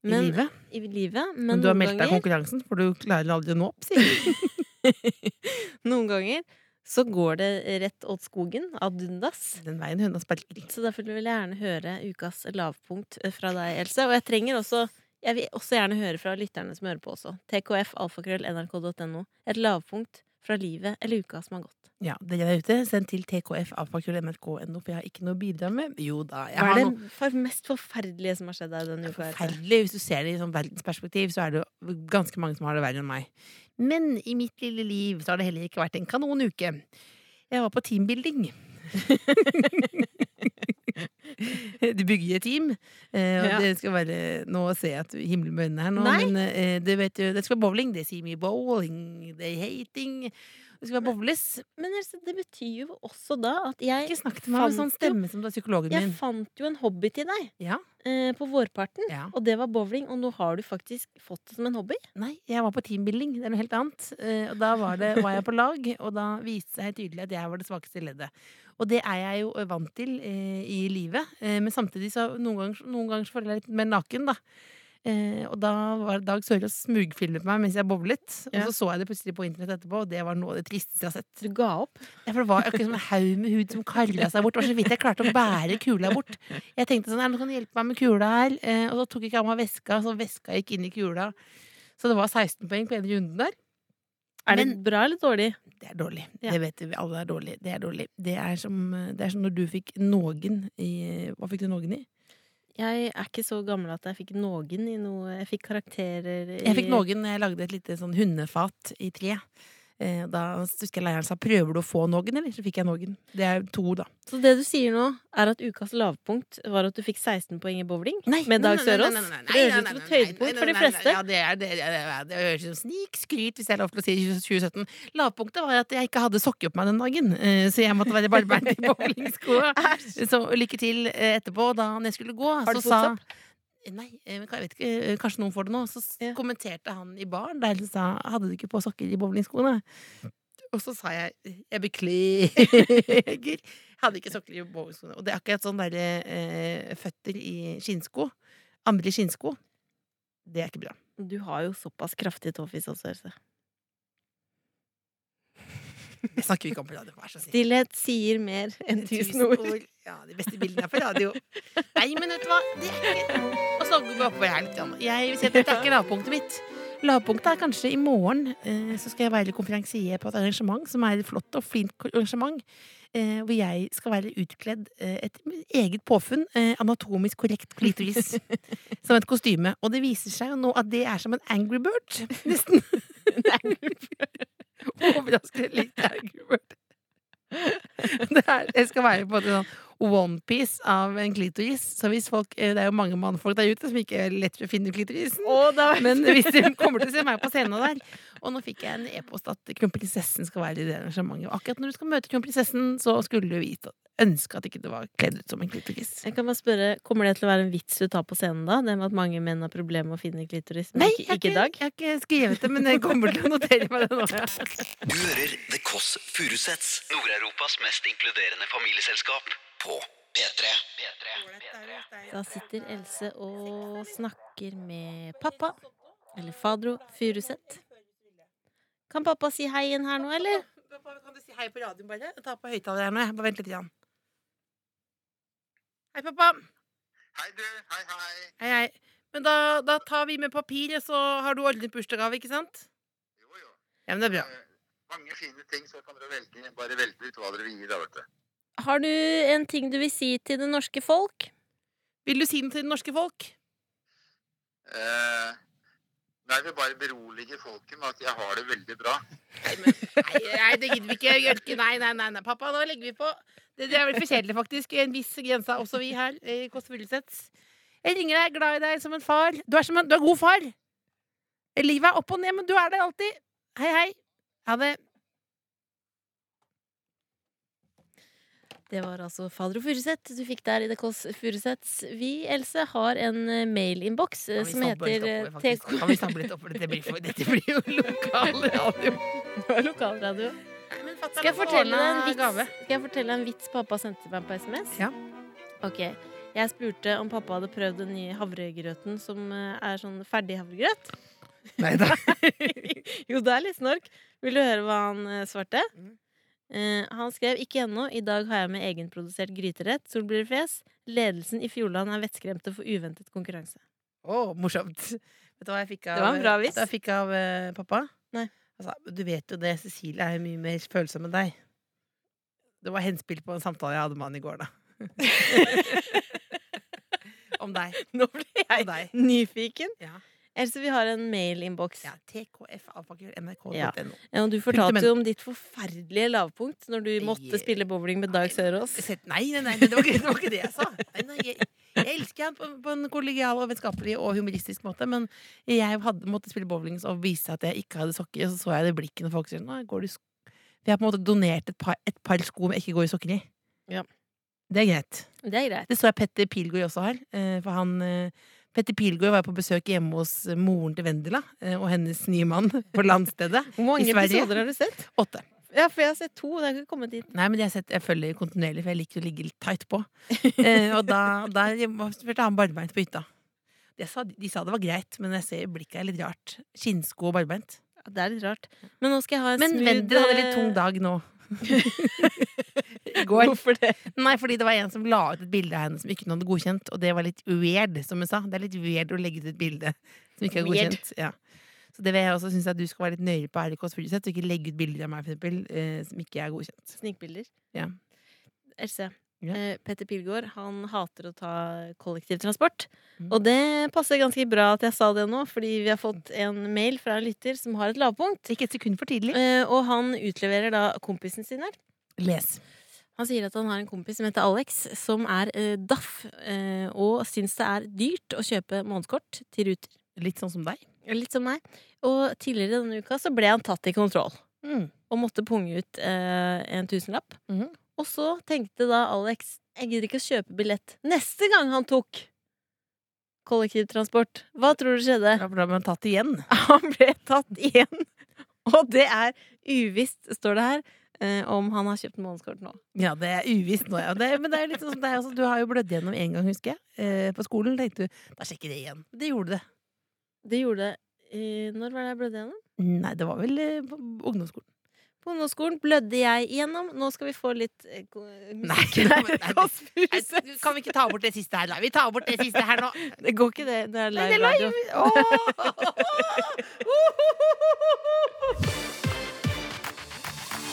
[SPEAKER 4] i
[SPEAKER 3] Men,
[SPEAKER 4] livet.
[SPEAKER 3] I livet. Men,
[SPEAKER 4] Men du har
[SPEAKER 3] noen,
[SPEAKER 4] meldt deg i
[SPEAKER 3] ganger,
[SPEAKER 4] konkurransen, for du klarer aldri å nå opp, sier du.
[SPEAKER 3] noen ganger så går det rett åt skogen, ad undas.
[SPEAKER 4] Den veien høna sparker.
[SPEAKER 3] Så derfor vil jeg gjerne høre ukas lavpunkt eh, fra deg, Else. Og jeg trenger også Jeg vil også gjerne høre fra lytterne som hører på også. TKF, alfakrøll, nrk.no. Et lavpunkt fra livet eller uka som har gått.
[SPEAKER 4] Ja, dere der ute, send til tkf.nrk.no, for jeg har ikke noe å bidra med. Jo da, jeg
[SPEAKER 3] Hva
[SPEAKER 4] har
[SPEAKER 3] er
[SPEAKER 4] noe.
[SPEAKER 3] det for mest forferdelige som har skjedd deg denne uka? Else?
[SPEAKER 4] forferdelig. Hvis du ser det i sånn verdensperspektiv, så er det jo ganske mange som har det verre enn meg. Men i mitt lille liv så har det heller ikke vært en kanon uke. Jeg var på teambuilding. du bygger et team, eh, og
[SPEAKER 3] Ja.
[SPEAKER 4] det skal være Nå ser jeg at du himler med øynene her nå,
[SPEAKER 3] Nei.
[SPEAKER 4] men eh, det, vet jo, det skal være bowling. Det sier mye bowling, det er hating. Det skal være bowles.
[SPEAKER 3] Men Else, det betyr jo også da at jeg,
[SPEAKER 4] Ikke snakk til meg med
[SPEAKER 3] fant
[SPEAKER 4] sånn stemme som du er psykologen
[SPEAKER 3] jeg
[SPEAKER 4] min.
[SPEAKER 3] fant jo en hobby til deg
[SPEAKER 4] Ja.
[SPEAKER 3] eh, på vårparten.
[SPEAKER 4] Ja.
[SPEAKER 3] Og det var bowling, og nå har du faktisk fått det som en hobby.
[SPEAKER 4] Nei, jeg var på teambuilding. Det er noe helt annet. Eh, Og da var, det, var jeg på lag, og da viste det seg helt tydelig at jeg var det svakeste leddet. Og det er jeg jo vant til eh, i livet, eh, men samtidig så noen ganger, noen ganger så føler jeg litt mer naken, da. Eh, og da var Dag Sørås smugfilmet meg mens jeg boblet.
[SPEAKER 3] Ja.
[SPEAKER 4] Og så så jeg det plutselig på internett etterpå, og det var noe av det tristeste jeg har sett.
[SPEAKER 3] Du ga opp.
[SPEAKER 4] Ja, for det var akkurat som en haug med hud som kalla seg bort. Det var så vidt jeg klarte å bære kula bort. Jeg tenkte sånn, er det noen som kan hjelpe meg med kula her? Eh, og så tok ikke av meg veska, så veska gikk inn i kula. Så det var 16 poeng på ene runden der.
[SPEAKER 3] Er
[SPEAKER 4] Men-
[SPEAKER 3] det bra eller dårlig?
[SPEAKER 4] Det er dårlig.
[SPEAKER 3] Ja.
[SPEAKER 4] Det vet vi alle er dårlig. Det er dårlig. Det er som, eh, det er som når du fikk noen i Hva fikk du noen i?
[SPEAKER 3] Jeg er ikke så gammel at jeg fikk noen i noe Jeg fikk karakterer i
[SPEAKER 4] Jeg fikk noen når jeg lagde et lite sånn hundefat i tre. Eh, Da husker jeg leieren sa 'prøver du å få noen', eller? Så fikk jeg noen. Det er to, da.
[SPEAKER 3] Så det du sier nå, er at ukas lavpunkt var at du fikk 16 poeng i bowling?
[SPEAKER 4] Nei,
[SPEAKER 3] med
[SPEAKER 4] nei,
[SPEAKER 3] Dag
[SPEAKER 4] nei, nei,
[SPEAKER 3] Sørås?
[SPEAKER 4] nei, nei, nei,
[SPEAKER 3] Det høres ut
[SPEAKER 4] nei, nei,
[SPEAKER 3] som et
[SPEAKER 4] nei, nei,
[SPEAKER 3] høydepunkt
[SPEAKER 4] nei,
[SPEAKER 3] for de
[SPEAKER 4] nei, nei,
[SPEAKER 3] fleste.
[SPEAKER 4] Ja, det, er, det, det, det, det høres ut som snikskryt, hvis det er lov til å si, i 2017. Lavpunktet var at jeg ikke hadde sokker på meg den dagen, eh, så jeg måtte være barbeint i bowlingskoa. Så lykke til eh, etterpå, da når jeg skulle gå.
[SPEAKER 3] Har du
[SPEAKER 4] så sa-
[SPEAKER 3] fotsopp?
[SPEAKER 4] Nei, eh, men jeg vet ikke, eh, kanskje noen får det nå. Så s-
[SPEAKER 3] Ja.
[SPEAKER 4] kommenterte han i baren der han sa hadde du ikke på sokker i bowlingskoene. Og så sa jeg eh, jeg beklager. Hadde ikke sokker i bowlingskoene. Og det er akkurat sånn derre eh, føtter i skinnsko. Andre skinnsko. Det er ikke bra.
[SPEAKER 3] Du har jo såpass kraftig tåfis også, Else.
[SPEAKER 4] Det snakker vi ikke om på radio. Vær så snill.
[SPEAKER 3] Stillhet sier mer enn tusen ord.
[SPEAKER 4] Ja, de beste bildene er på radio. Nei, men vet du hva? Det er ikke Og så går vi opp på hjelp. Jan. Jeg vil si at dette er ikke lavpunktet mitt. Lavpunktet er kanskje i morgen. eh, Så skal jeg være konferansier på et arrangement som er et flott og fint arrangement. eh, Hvor jeg skal være utkledd eh, etter mitt eget påfunn. eh, Anatomisk korrekt klitoris. Som et kostyme. Og det viser seg jo nå at det er som en Angry Bird. Nesten. Overraskende likt Angry Bird. Det er, jeg skal være på en måte sånn onepiece av en klitoris. Så hvis folk, eh, det er jo mange mannfolk der ute som ikke lett finner klitorisen. Men hvis de kommer til å se meg på scenen der Og nå fikk jeg en e-post at kronprinsessen skal være i det arrangementet. Og akkurat når du skal møte kronprinsessen, så skulle du vite ønske at ikke du var kledd ut som en klitoris.
[SPEAKER 3] Jeg kan bare spørre, Kommer det til å være en vits du tar på scenen da? Det med at mange menn har problemer med å finne klitoris? Men
[SPEAKER 4] jeg har
[SPEAKER 3] ikke, ikke i dag?
[SPEAKER 4] Jeg har ikke skrevet det, men jeg kommer til å notere meg det nå.
[SPEAKER 2] Du hører The Kåss Furuseths, Nord-Europas mest inkluderende familieselskap, på P3.
[SPEAKER 3] Da sitter Else og snakker med pappa. Eller Fadro Furuseth. Kan pappa si hei igjen her nå, eller?
[SPEAKER 4] Kan du si hei på radioen, bare? Ta på høyttaler her nå. Jeg bare vent litt. Jan. Hei, pappa.
[SPEAKER 6] Hei, du. Hei, hei.
[SPEAKER 4] Hei, hei. Men da, da tar vi med papir, og så har du ordnet bursdagsgave, ikke sant?
[SPEAKER 6] Jo, jo.
[SPEAKER 4] Ja, men det er bra.
[SPEAKER 6] Eh, Mange fine ting, så kan dere velge, bare velge ut hva dere vil gi, da, vet du.
[SPEAKER 3] Har du en ting du vil si til det norske folk?
[SPEAKER 4] Vil du si noe til det norske folk?
[SPEAKER 6] Eh, nei, jeg vil bare berolige folket med at jeg har det veldig bra.
[SPEAKER 4] Nei, nei det gidder vi ikke. Jørke. Nei, nei, nei, nei. Pappa, nå legger vi på. Det, det er vel for kjedelig, faktisk. En viss grense er også vi her eh, i Kåss Furuseths. Jeg ringer deg, glad i deg som en far. Du er, som en, du er god far. Livet er opp og ned, men du er der alltid. Hei, hei. Ha det.
[SPEAKER 3] Det var altså Fadro Furuseth du fikk der i The Kåss Furuseths. Vi, Else, har en eh, mailinnboks eh, som heter eh, TK
[SPEAKER 4] Kan vi samle litt opp, for dette blir, for, dette blir jo lokal radio.
[SPEAKER 3] Lokalradio. Skal jeg fortelle deg en vits, Skal jeg fortelle deg en vits pappa sendte meg på SMS?
[SPEAKER 4] Ja.
[SPEAKER 3] Ok. Jeg spurte om pappa hadde prøvd den nye havregrøten som eh, er sånn ferdig havregrøt.
[SPEAKER 4] Nei da.
[SPEAKER 3] jo, det er litt snork. Vil du høre hva han eh, svarte?
[SPEAKER 4] Mm.
[SPEAKER 3] Eh, han skrev ikke ennå. I dag har jeg med egenprodusert gryterett, solbrillefjes. Ledelsen i Fjordland er vettskremte for uventet konkurranse.
[SPEAKER 4] Å, morsomt. Vet du hva jeg fikk av,
[SPEAKER 3] Det var en bra vits.
[SPEAKER 4] vet du hva jeg fikk av eh, pappa?
[SPEAKER 3] Nei.
[SPEAKER 4] Altså, du vet jo det, Cecilie er jo mye mer følsom enn deg. Det var henspill på en samtale jeg hadde med han i går, da. Om deg.
[SPEAKER 3] Nå ble
[SPEAKER 4] Om deg.
[SPEAKER 3] nyfiken.
[SPEAKER 4] Ja.
[SPEAKER 3] Else, vi har en mailinnboks.
[SPEAKER 4] Ja, tkfalfakrøll.nrk.no.
[SPEAKER 3] Ja.
[SPEAKER 4] Jeg
[SPEAKER 3] Ja, Eh, og du
[SPEAKER 4] Punktum.
[SPEAKER 3] fortalte jo om ditt forferdelige lavpunkt når du måtte
[SPEAKER 4] Jeg-
[SPEAKER 3] spille bowling med Dag Sørås.
[SPEAKER 4] Eh, sett- Nei, nei, nei, det var ikke det, var ikke det jeg sa. Nei, nei, jeg, jeg elsker han på, på en kollegial og vennskapelig og humoristisk måte, men jeg hadde, måtte spille bowling og vise at jeg ikke hadde sokker, og så så jeg det blikket når folk sier Nei, går du sk For jeg har på en måte donert et par, et par sko jeg ikke går i sokker i.
[SPEAKER 3] Ja.
[SPEAKER 4] Det er greit.
[SPEAKER 3] Det er greit.
[SPEAKER 4] Det så jeg Petter Pilgaard også har. eh, For han eh, Petter Pilgaard var på besøk hjemme hos eh, moren til Vendela eh, og hennes nye mann på landstedet.
[SPEAKER 3] Hvor mange
[SPEAKER 4] I Sverige?
[SPEAKER 3] episoder har du sett?
[SPEAKER 4] Åtte.
[SPEAKER 3] Ja, for jeg har sett to. Det har ikke kommet dit.
[SPEAKER 4] Nei, men jeg, har sett, jeg følger kontinuerlig, for jeg liker å ligge litt tight på. Eh, og da, da spurte han barbeint på hytta. Jeg sa, de sa det var greit, men jeg ser blikket er litt rart. Skinnsko og barbeint.
[SPEAKER 3] Ja, det er litt rart. Men nå skal jeg ha en
[SPEAKER 4] Men
[SPEAKER 3] smooth
[SPEAKER 4] Vendela hadde litt tung
[SPEAKER 3] eh,
[SPEAKER 4] dag nå. I går.
[SPEAKER 3] Hvorfor det?
[SPEAKER 4] Nei, fordi det var en som la ut et bilde av henne som ikke noen hadde godkjent, og det var litt weird, som hun sa. Det er litt weird å legge ut et bilde som ikke er
[SPEAKER 3] Weird.
[SPEAKER 4] godkjent. Ja. Så det vil jeg også synes at du skal være litt nøyere på RKs Furuseth, og ikke legge ut bilder av meg, for eksempel, eh, som ikke er godkjent.
[SPEAKER 3] Snikbilder.
[SPEAKER 4] Ja.
[SPEAKER 3] Else.
[SPEAKER 4] Ja.
[SPEAKER 3] eh, Petter Pilgaard han hater å ta kollektivtransport.
[SPEAKER 4] Mm.
[SPEAKER 3] Og det passer ganske bra at jeg sa det nå, fordi vi har fått en mail fra en lytter som har et lavpunkt.
[SPEAKER 4] Ikke et sekund for tidlig.
[SPEAKER 3] Eh, Og han utleverer da kompisen sin her.
[SPEAKER 4] Les.
[SPEAKER 3] Han sier at han har en kompis som heter Alex, som er eh, daff, eh, og syns det er dyrt å kjøpe månedskort til Ruter.
[SPEAKER 4] Litt sånn som deg.
[SPEAKER 3] Litt som meg. Og tidligere denne uka så ble han tatt i kontroll
[SPEAKER 4] Mm.
[SPEAKER 3] og måtte punge ut eh, en tusenlapp.
[SPEAKER 4] Mhm.
[SPEAKER 3] Og så tenkte da Alex jeg gidder ikke å kjøpe billett neste gang han tok kollektivtransport. Hva tror du skjedde?
[SPEAKER 4] Ja, for da ble han tatt igjen.
[SPEAKER 3] Han ble tatt igjen. Og det er uvisst, står det her, eh, om han har kjøpt månedskort nå.
[SPEAKER 4] Ja, det er uvisst nå, ja. Det, men det er jo litt sånn som deg også. Du har jo blødd gjennom én gang, husker jeg. Eh, på skolen tenkte du da sjekker jeg det igjen. Det gjorde det.
[SPEAKER 3] Det gjorde eh, Når var det jeg blødde gjennom?
[SPEAKER 4] Nei, det var vel eh, på ungdomsskolen.
[SPEAKER 3] På ungdomsskolen blødde jeg igjennom. Nå skal vi få litt eh, ko- musikk
[SPEAKER 4] nei,
[SPEAKER 3] her.
[SPEAKER 4] nei,
[SPEAKER 3] Kåss
[SPEAKER 4] Nei,
[SPEAKER 3] Furuseth.
[SPEAKER 4] Kan vi ikke ta bort det siste her, da? Vi tar bort det siste her nå.
[SPEAKER 3] Det går ikke, det. Det er
[SPEAKER 4] Nei, det
[SPEAKER 3] live
[SPEAKER 4] er
[SPEAKER 3] radio.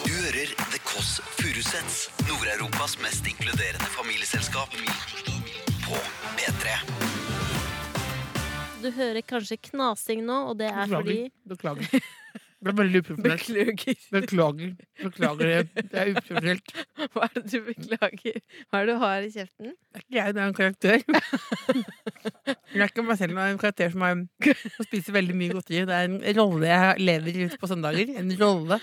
[SPEAKER 2] Du hører The Kåss Furuseths, Nord-Europas mest inkluderende familieselskap på P3.
[SPEAKER 3] Du hører kanskje knasing nå, og det er fordi
[SPEAKER 4] Beklager. Beklager. Det ble veldig uprofesjonelt.
[SPEAKER 3] Beklager.
[SPEAKER 4] Beklager. Beklager. det. Det er uprofesjonelt.
[SPEAKER 3] Hva er det du beklager? Hva er det du har i kjeften?
[SPEAKER 4] Det er ikke jeg, det er en karakter. Jeg er ikke meg selv, men det er en karakter som, er, som spiser veldig mye godteri. Det er en rolle jeg lever ut på søndager. En rolle.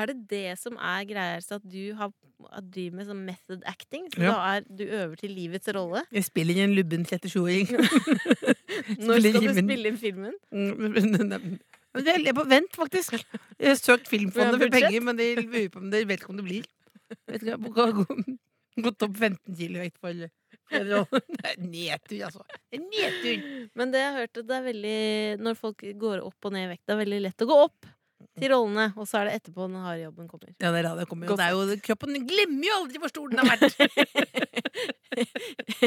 [SPEAKER 3] Er det det som er greia, altså at du har, at du driver med sånn method acting? Så
[SPEAKER 4] Ja.
[SPEAKER 3] da er du øver til livets rolle?
[SPEAKER 4] Jeg spiller en lubben 37-åring.
[SPEAKER 3] Når
[SPEAKER 4] Spiller
[SPEAKER 3] skal du
[SPEAKER 4] filmen.
[SPEAKER 3] spille inn filmen?
[SPEAKER 4] Mm, Men det er på vent, faktisk. Jeg har søkt Filmfondet
[SPEAKER 3] Vi har
[SPEAKER 4] for
[SPEAKER 3] budsjett.
[SPEAKER 4] penger, men de lurer på om det, vet ikke om det blir. Vet ikke, jeg har gå- Gått opp 15 kilo i vekt for for en rolle. Det er en nedtur, altså. Det er en nedtur.
[SPEAKER 3] Men det jeg har hørt, at det er veldig Når folk går opp og ned i vekt, det er veldig lett å gå opp til rollene, og så er det etterpå den harde jobben kommer.
[SPEAKER 4] Ja, det er radio kommer jo.
[SPEAKER 3] Godt
[SPEAKER 4] Det er jo kroppen glemmer jo aldri hvor stor den har vært.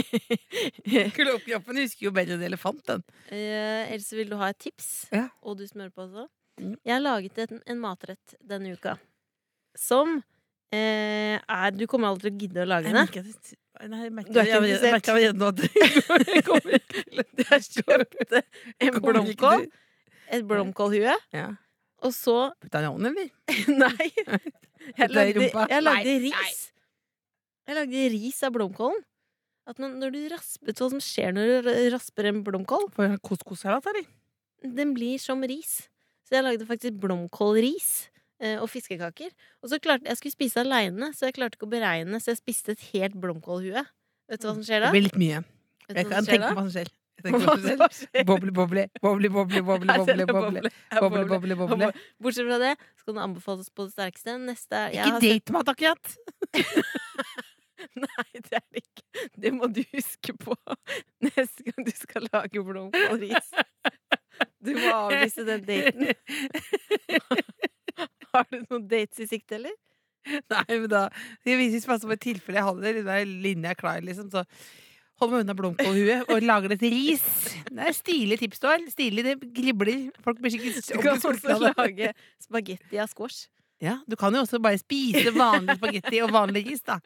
[SPEAKER 4] Kro- Kroppen husker jo bedre enn en elefant, den.
[SPEAKER 3] Eh, Else, vil du ha et tips?
[SPEAKER 4] Ja.
[SPEAKER 3] Og du som hører på også.
[SPEAKER 4] Mm.
[SPEAKER 3] Jeg har laget en, en matrett denne uka som eh, er Du kommer aldri til å gidde å lage den.
[SPEAKER 4] merker at Nei, jeg merker
[SPEAKER 3] Du er ikke
[SPEAKER 4] jeg- jeg- jeg
[SPEAKER 3] interessert?
[SPEAKER 4] merker allerede nå at det kommer ikke til å-
[SPEAKER 3] Jeg kjøpte en
[SPEAKER 4] Kommer det ikke
[SPEAKER 3] blomkål,
[SPEAKER 4] til-
[SPEAKER 3] et blomkålhue,
[SPEAKER 4] Ja.
[SPEAKER 3] og så
[SPEAKER 4] Putta den i ovnen, eller?
[SPEAKER 3] Nei! Jeg
[SPEAKER 4] i
[SPEAKER 3] lagde,
[SPEAKER 4] rumpa.
[SPEAKER 3] jeg lagde
[SPEAKER 4] Nei, nei.
[SPEAKER 3] ris. Jeg lagde ris av blomkålen. At når, når du rasper, Hva som skjer når du rasper en blomkål?
[SPEAKER 4] Får jeg ha couscous-salat, eller?
[SPEAKER 3] den blir som ris. Så jeg lagde faktisk blomkålris eh, og fiskekaker. Og så klarte jeg skulle spise aleine, så jeg klarte ikke å beregne, så jeg spiste et helt blomkålhue. Vet du hva som skjer da?
[SPEAKER 4] Det blir litt mye.
[SPEAKER 3] Vet du
[SPEAKER 4] Jeg
[SPEAKER 3] hva
[SPEAKER 4] kan
[SPEAKER 3] som skjer
[SPEAKER 4] tenke
[SPEAKER 3] da?
[SPEAKER 4] på hva som skjer. Jeg tenker på
[SPEAKER 3] Hva
[SPEAKER 4] hva som
[SPEAKER 3] som
[SPEAKER 4] skjer.
[SPEAKER 3] skjer?
[SPEAKER 4] Boble, boble, boble, boble, boble,
[SPEAKER 3] Her ser
[SPEAKER 4] boble,
[SPEAKER 3] jeg
[SPEAKER 4] boble,
[SPEAKER 3] boble. Her
[SPEAKER 4] boble,
[SPEAKER 3] boble.
[SPEAKER 4] boble, boble.
[SPEAKER 3] Bortsett fra det, så kan det anbefales på det sterkeste. Neste er- jeg
[SPEAKER 4] Ikke
[SPEAKER 3] har sett-
[SPEAKER 4] date mat, akkurat!
[SPEAKER 3] Nei, det er det ikke. Det må du huske på neste gang du skal lage blomkålris. Du må avlyse den daten. Har du noen dates i sikte, eller?
[SPEAKER 4] Nei, men da Jeg viser passe på et tilfelle jeg hadde det. Der linja er klar, liksom. Så hold meg unna blomkålhue og lager det til ris. Det er stilige tips du har. Stilig, det gribler. Folk blir sikkert
[SPEAKER 3] Du kan
[SPEAKER 4] ordentlig
[SPEAKER 3] også
[SPEAKER 4] skuffet av det.
[SPEAKER 3] lage spagetti av squash.
[SPEAKER 4] Ja, du kan jo også bare spise vanlig spagetti og vanlig ris, da.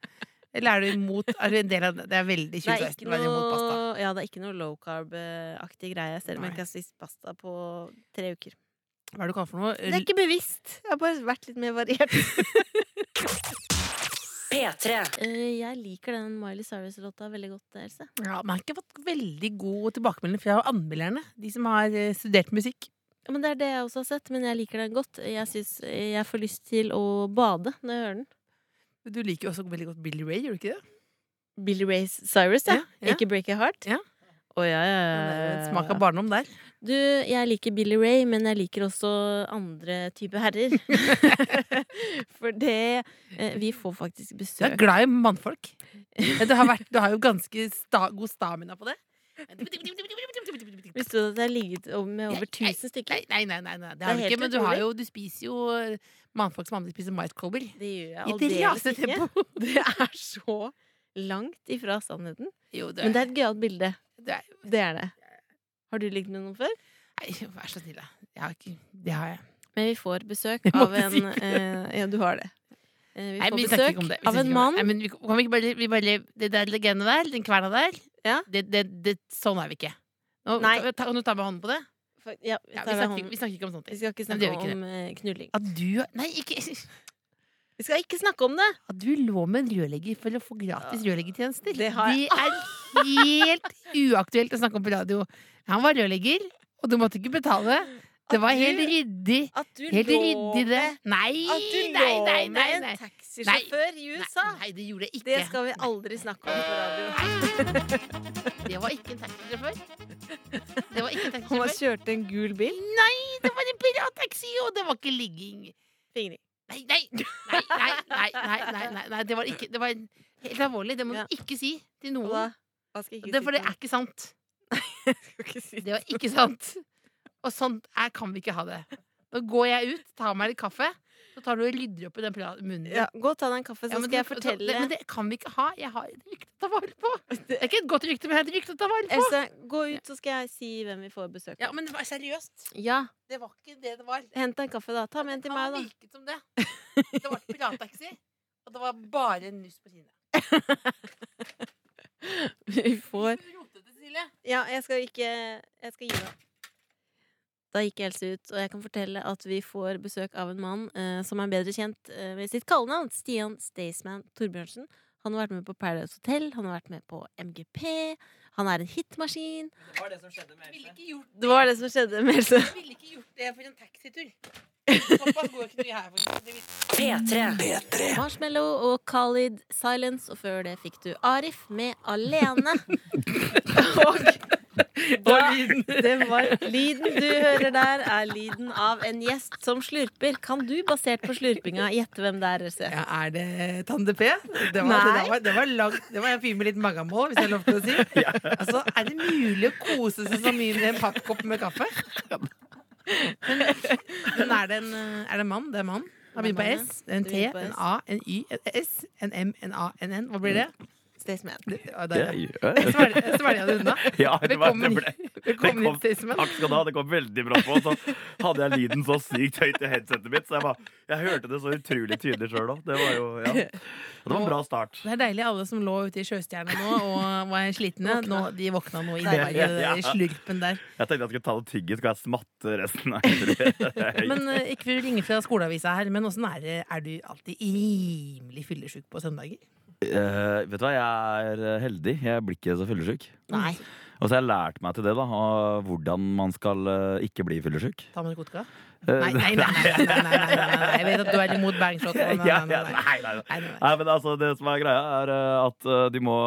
[SPEAKER 4] Eller er du imot er du en del av det? Det er veldig
[SPEAKER 3] Det er
[SPEAKER 4] 2016
[SPEAKER 3] ikke
[SPEAKER 4] å være imot pasta.
[SPEAKER 3] noe, ja, det er ikke noe low carb-aktig greie, selv om
[SPEAKER 4] Nei.
[SPEAKER 3] jeg ikke har spist pasta på tre uker.
[SPEAKER 4] Hva er det du kaller for noe?
[SPEAKER 3] Det er ikke bevisst. Jeg har bare vært litt mer variert.
[SPEAKER 1] P3.
[SPEAKER 3] Eh, jeg liker den Miley Cyrus-låta veldig godt, Else.
[SPEAKER 4] Ja, Man har ikke fått veldig god tilbakemelding fra anmelderne. De som har eh, studert musikk.
[SPEAKER 3] Ja, Men det er det jeg også har sett, men jeg liker den godt. Jeg syns jeg får lyst til å bade når jeg hører den.
[SPEAKER 4] Du liker jo også veldig godt Billy Ray, gjør du ikke det?
[SPEAKER 3] Billy Ray Cyrus, ja.
[SPEAKER 4] Ja, Eh, ja.
[SPEAKER 3] Ikke Break Your Heart.
[SPEAKER 4] Ja.
[SPEAKER 3] Å, ja, ja,
[SPEAKER 4] Det
[SPEAKER 3] ja, ja,
[SPEAKER 4] er jo et
[SPEAKER 3] ja.
[SPEAKER 4] Smak av barndom der.
[SPEAKER 3] Du, jeg liker Billy Ray, men jeg liker også andre typer herrer. For det eh, Vi får faktisk
[SPEAKER 4] Du er
[SPEAKER 3] besøk.
[SPEAKER 4] glad i mannfolk. Men Du har, vært, du har jo ganske sta, god stamina på det.
[SPEAKER 3] Visste du at jeg har ligget over- med over
[SPEAKER 4] Jeg- jeg-
[SPEAKER 3] tusen stykker?
[SPEAKER 4] Nei, nei, nei, nei, nei. det har du
[SPEAKER 3] helt
[SPEAKER 4] ikke. Men du, har
[SPEAKER 3] utrolig.
[SPEAKER 4] jo, du spiser jo eh, mannfolk som andre spiser maiskolber.
[SPEAKER 3] Det gjør jeg
[SPEAKER 4] I et
[SPEAKER 3] aldeles ikke.
[SPEAKER 4] rasetempo.
[SPEAKER 3] Det er så langt ifra sannheten.
[SPEAKER 4] Jo, du
[SPEAKER 3] Men
[SPEAKER 4] er,
[SPEAKER 3] det er et gøyalt bilde.
[SPEAKER 4] du er
[SPEAKER 3] Det er det. Har du ligget med noen før?
[SPEAKER 4] Nei, vær så snill, da. Jeg har ikke, det har jeg.
[SPEAKER 3] Men vi får besøk
[SPEAKER 4] Jeg må
[SPEAKER 3] av en
[SPEAKER 4] si
[SPEAKER 3] eh, Ja, du har det. Eh, Vi
[SPEAKER 4] Nei,
[SPEAKER 3] får
[SPEAKER 4] men vi snakker
[SPEAKER 3] besøk
[SPEAKER 4] ikke om det. Vi
[SPEAKER 3] av
[SPEAKER 4] snakker
[SPEAKER 3] en
[SPEAKER 4] ikke om det.
[SPEAKER 3] mann.
[SPEAKER 4] Nei, men vi, kan vi ikke bare, vi bare Det der legendet der, den kverna der,
[SPEAKER 3] Ja.
[SPEAKER 4] det, det, det, sånn er vi ikke. Nå,
[SPEAKER 3] Nei.
[SPEAKER 4] ta- Kan du ta med hånden på det?
[SPEAKER 3] For- Ja, vi, tar
[SPEAKER 4] Ja, vi,
[SPEAKER 3] med
[SPEAKER 4] snakker,
[SPEAKER 3] hånden.
[SPEAKER 4] vi snakker ikke om sånne
[SPEAKER 3] vi
[SPEAKER 4] ting.
[SPEAKER 3] skal ikke
[SPEAKER 4] Nei, det
[SPEAKER 3] snakke
[SPEAKER 4] gjør vi ikke
[SPEAKER 3] om eh, knulling.
[SPEAKER 4] At du Nei, ikke
[SPEAKER 3] Vi skal ikke snakke om det!
[SPEAKER 4] At du lå med en rørlegger for å få gratis rørleggertjenester.
[SPEAKER 3] Det har jeg-
[SPEAKER 4] er helt uaktuelt å snakke om på radio. Han var rørlegger, og du måtte ikke betale. Det var
[SPEAKER 3] At du-
[SPEAKER 4] helt ryddig.
[SPEAKER 3] At du
[SPEAKER 4] Helt ryddig, det. Nei,
[SPEAKER 3] At du
[SPEAKER 4] nei,
[SPEAKER 3] lå
[SPEAKER 4] nei, nei,
[SPEAKER 3] med
[SPEAKER 4] nei.
[SPEAKER 3] en taxisjåfør i USA!
[SPEAKER 4] Nei, det gjorde jeg ikke.
[SPEAKER 3] Det skal vi aldri snakke om på radio.
[SPEAKER 4] Det var ikke en taxisjåfør. Det var ikke en
[SPEAKER 3] Han
[SPEAKER 4] taxisjåfør.
[SPEAKER 3] kjørte en gul bil.
[SPEAKER 4] Det var en pirattaxi, og det var ikke ligging.
[SPEAKER 3] Fingring.
[SPEAKER 4] Nei, nei, nei, nei, nei, nei, nei, nei, nei. det var ikke Det var helt alvorlig. Det må
[SPEAKER 3] Ja.
[SPEAKER 4] du ikke si til
[SPEAKER 3] Og da
[SPEAKER 4] noen.
[SPEAKER 3] hva skal jeg ikke
[SPEAKER 4] Det, for det
[SPEAKER 3] si
[SPEAKER 4] er ikke sant.
[SPEAKER 3] til? Skal ikke si
[SPEAKER 4] Det var ikke sant. Og sånn er, kan vi ikke ha det. Nå går jeg ut, tar meg litt kaffe, så tar du og rydder opp i den pla- munnen din.
[SPEAKER 3] Ja, Gå og ta deg en kaffe, så
[SPEAKER 4] Ja, men
[SPEAKER 3] skal jeg
[SPEAKER 4] du- så-
[SPEAKER 3] fortelle.
[SPEAKER 4] det, men det kan vi ikke ha. Jeg har et rykte å ta vare på. Det er ikke et godt rykte, men jeg har et rykte å ta vare på.
[SPEAKER 3] Else, gå ut, så skal jeg si hvem vi får besøk av.
[SPEAKER 4] Ja, men det var seriøst.
[SPEAKER 3] Ja,
[SPEAKER 4] Det var ikke det det var.
[SPEAKER 3] hent deg en kaffe, da. Ta med en til meg,
[SPEAKER 4] Det
[SPEAKER 3] da.
[SPEAKER 4] virket som det. Det var et pirattaxi, og det var bare nuss på kinnet.
[SPEAKER 3] Vi får
[SPEAKER 4] Rotete, Silje.
[SPEAKER 3] Ja, jeg skal ikke Jeg skal gi meg. Da gikk Else ut, og jeg kan fortelle at vi får besøk av en mann eh, som er bedre kjent eh, ved sitt kallenavn, Stian Staysman Torbjørnsen. Han har vært med på Paradise Hotel, han har vært med på MGP, han er en hitmaskin.
[SPEAKER 7] Det var det som skjedde med
[SPEAKER 4] Jeg ville
[SPEAKER 7] Else.
[SPEAKER 4] ikke gjort
[SPEAKER 3] Det var det som skjedde med Else.
[SPEAKER 4] Jeg ville ikke gjort det for en taxitur. Såpass går ikke mye her. faktisk. Det vil-
[SPEAKER 1] P3.
[SPEAKER 3] Marshmallow og Khalid Silence, og før det fikk du Arif med Alene. og da, det var lyden du hører der, er lyden av en gjest som slurper. Kan du, basert på slurpinga, gjette hvem det er? Else?
[SPEAKER 4] Ja, er det Tande P? Det var,
[SPEAKER 3] Nei.
[SPEAKER 4] Det var, det var, langt, det var en fyr med litt magamål, hvis jeg har lov til å si. Altså, er det mulig å kose seg så mye med en pappkopp med kaffe? Men, men er, det en, er det en mann? Det er en mann. Han begynner på S. En
[SPEAKER 3] Det
[SPEAKER 4] T,
[SPEAKER 3] begynner på
[SPEAKER 4] en
[SPEAKER 3] S.
[SPEAKER 4] A, en Y, en S, en M, en A, en N. Hva blir det?
[SPEAKER 3] Mm. Staysman.
[SPEAKER 4] det ja,
[SPEAKER 8] Det,
[SPEAKER 4] der, ja. Svelg- Svelga du unna?
[SPEAKER 8] ja, det var, det
[SPEAKER 4] Velkommen,
[SPEAKER 8] ble,
[SPEAKER 4] velkommen
[SPEAKER 8] kom-
[SPEAKER 4] hit, Staysman.
[SPEAKER 8] takk skal du ha, det kom veldig bra på. Så hadde jeg lyden så sykt høyt i headsetet mitt, så jeg, bare, jeg hørte det så utrolig tydelig sjøl òg. Det var jo ja. Det var en bra start.
[SPEAKER 4] Det er deilig alle som lå ute i sjøstjerna nå og var slitne. Nå, de våkna nå i
[SPEAKER 8] Ja,
[SPEAKER 4] dag, i den der
[SPEAKER 8] ja.
[SPEAKER 4] slurpen der.
[SPEAKER 8] Jeg tenkte jeg skulle ta det tygget, skal jeg smatte resten av intervjuet.
[SPEAKER 4] Men eh, Ikke for å ringe fra skoleavisa her, men åssen er det? Er du alltid rimelig fyllesyk på søndager?
[SPEAKER 8] Eh, vet du hva, jeg er eh, heldig. Jeg blir ikke så fyllesyk.
[SPEAKER 3] Nei.
[SPEAKER 8] Og så har jeg lært meg til det, da. av Hvordan man skal eh, ikke bli fyllesyk.
[SPEAKER 4] Ta med narkotika?
[SPEAKER 8] Eh,
[SPEAKER 4] Nei, nei, nei, nei, nei, nei, nei, nei, nei. Jeg vet at du er imot bangshot. Nei, nei,
[SPEAKER 8] Ja,
[SPEAKER 4] nei,
[SPEAKER 8] ja,
[SPEAKER 4] nei.
[SPEAKER 8] nei, nei, nei.
[SPEAKER 4] Nei, nei, nei.
[SPEAKER 8] Nei, men altså, det som er greia, er eh, at eh, du må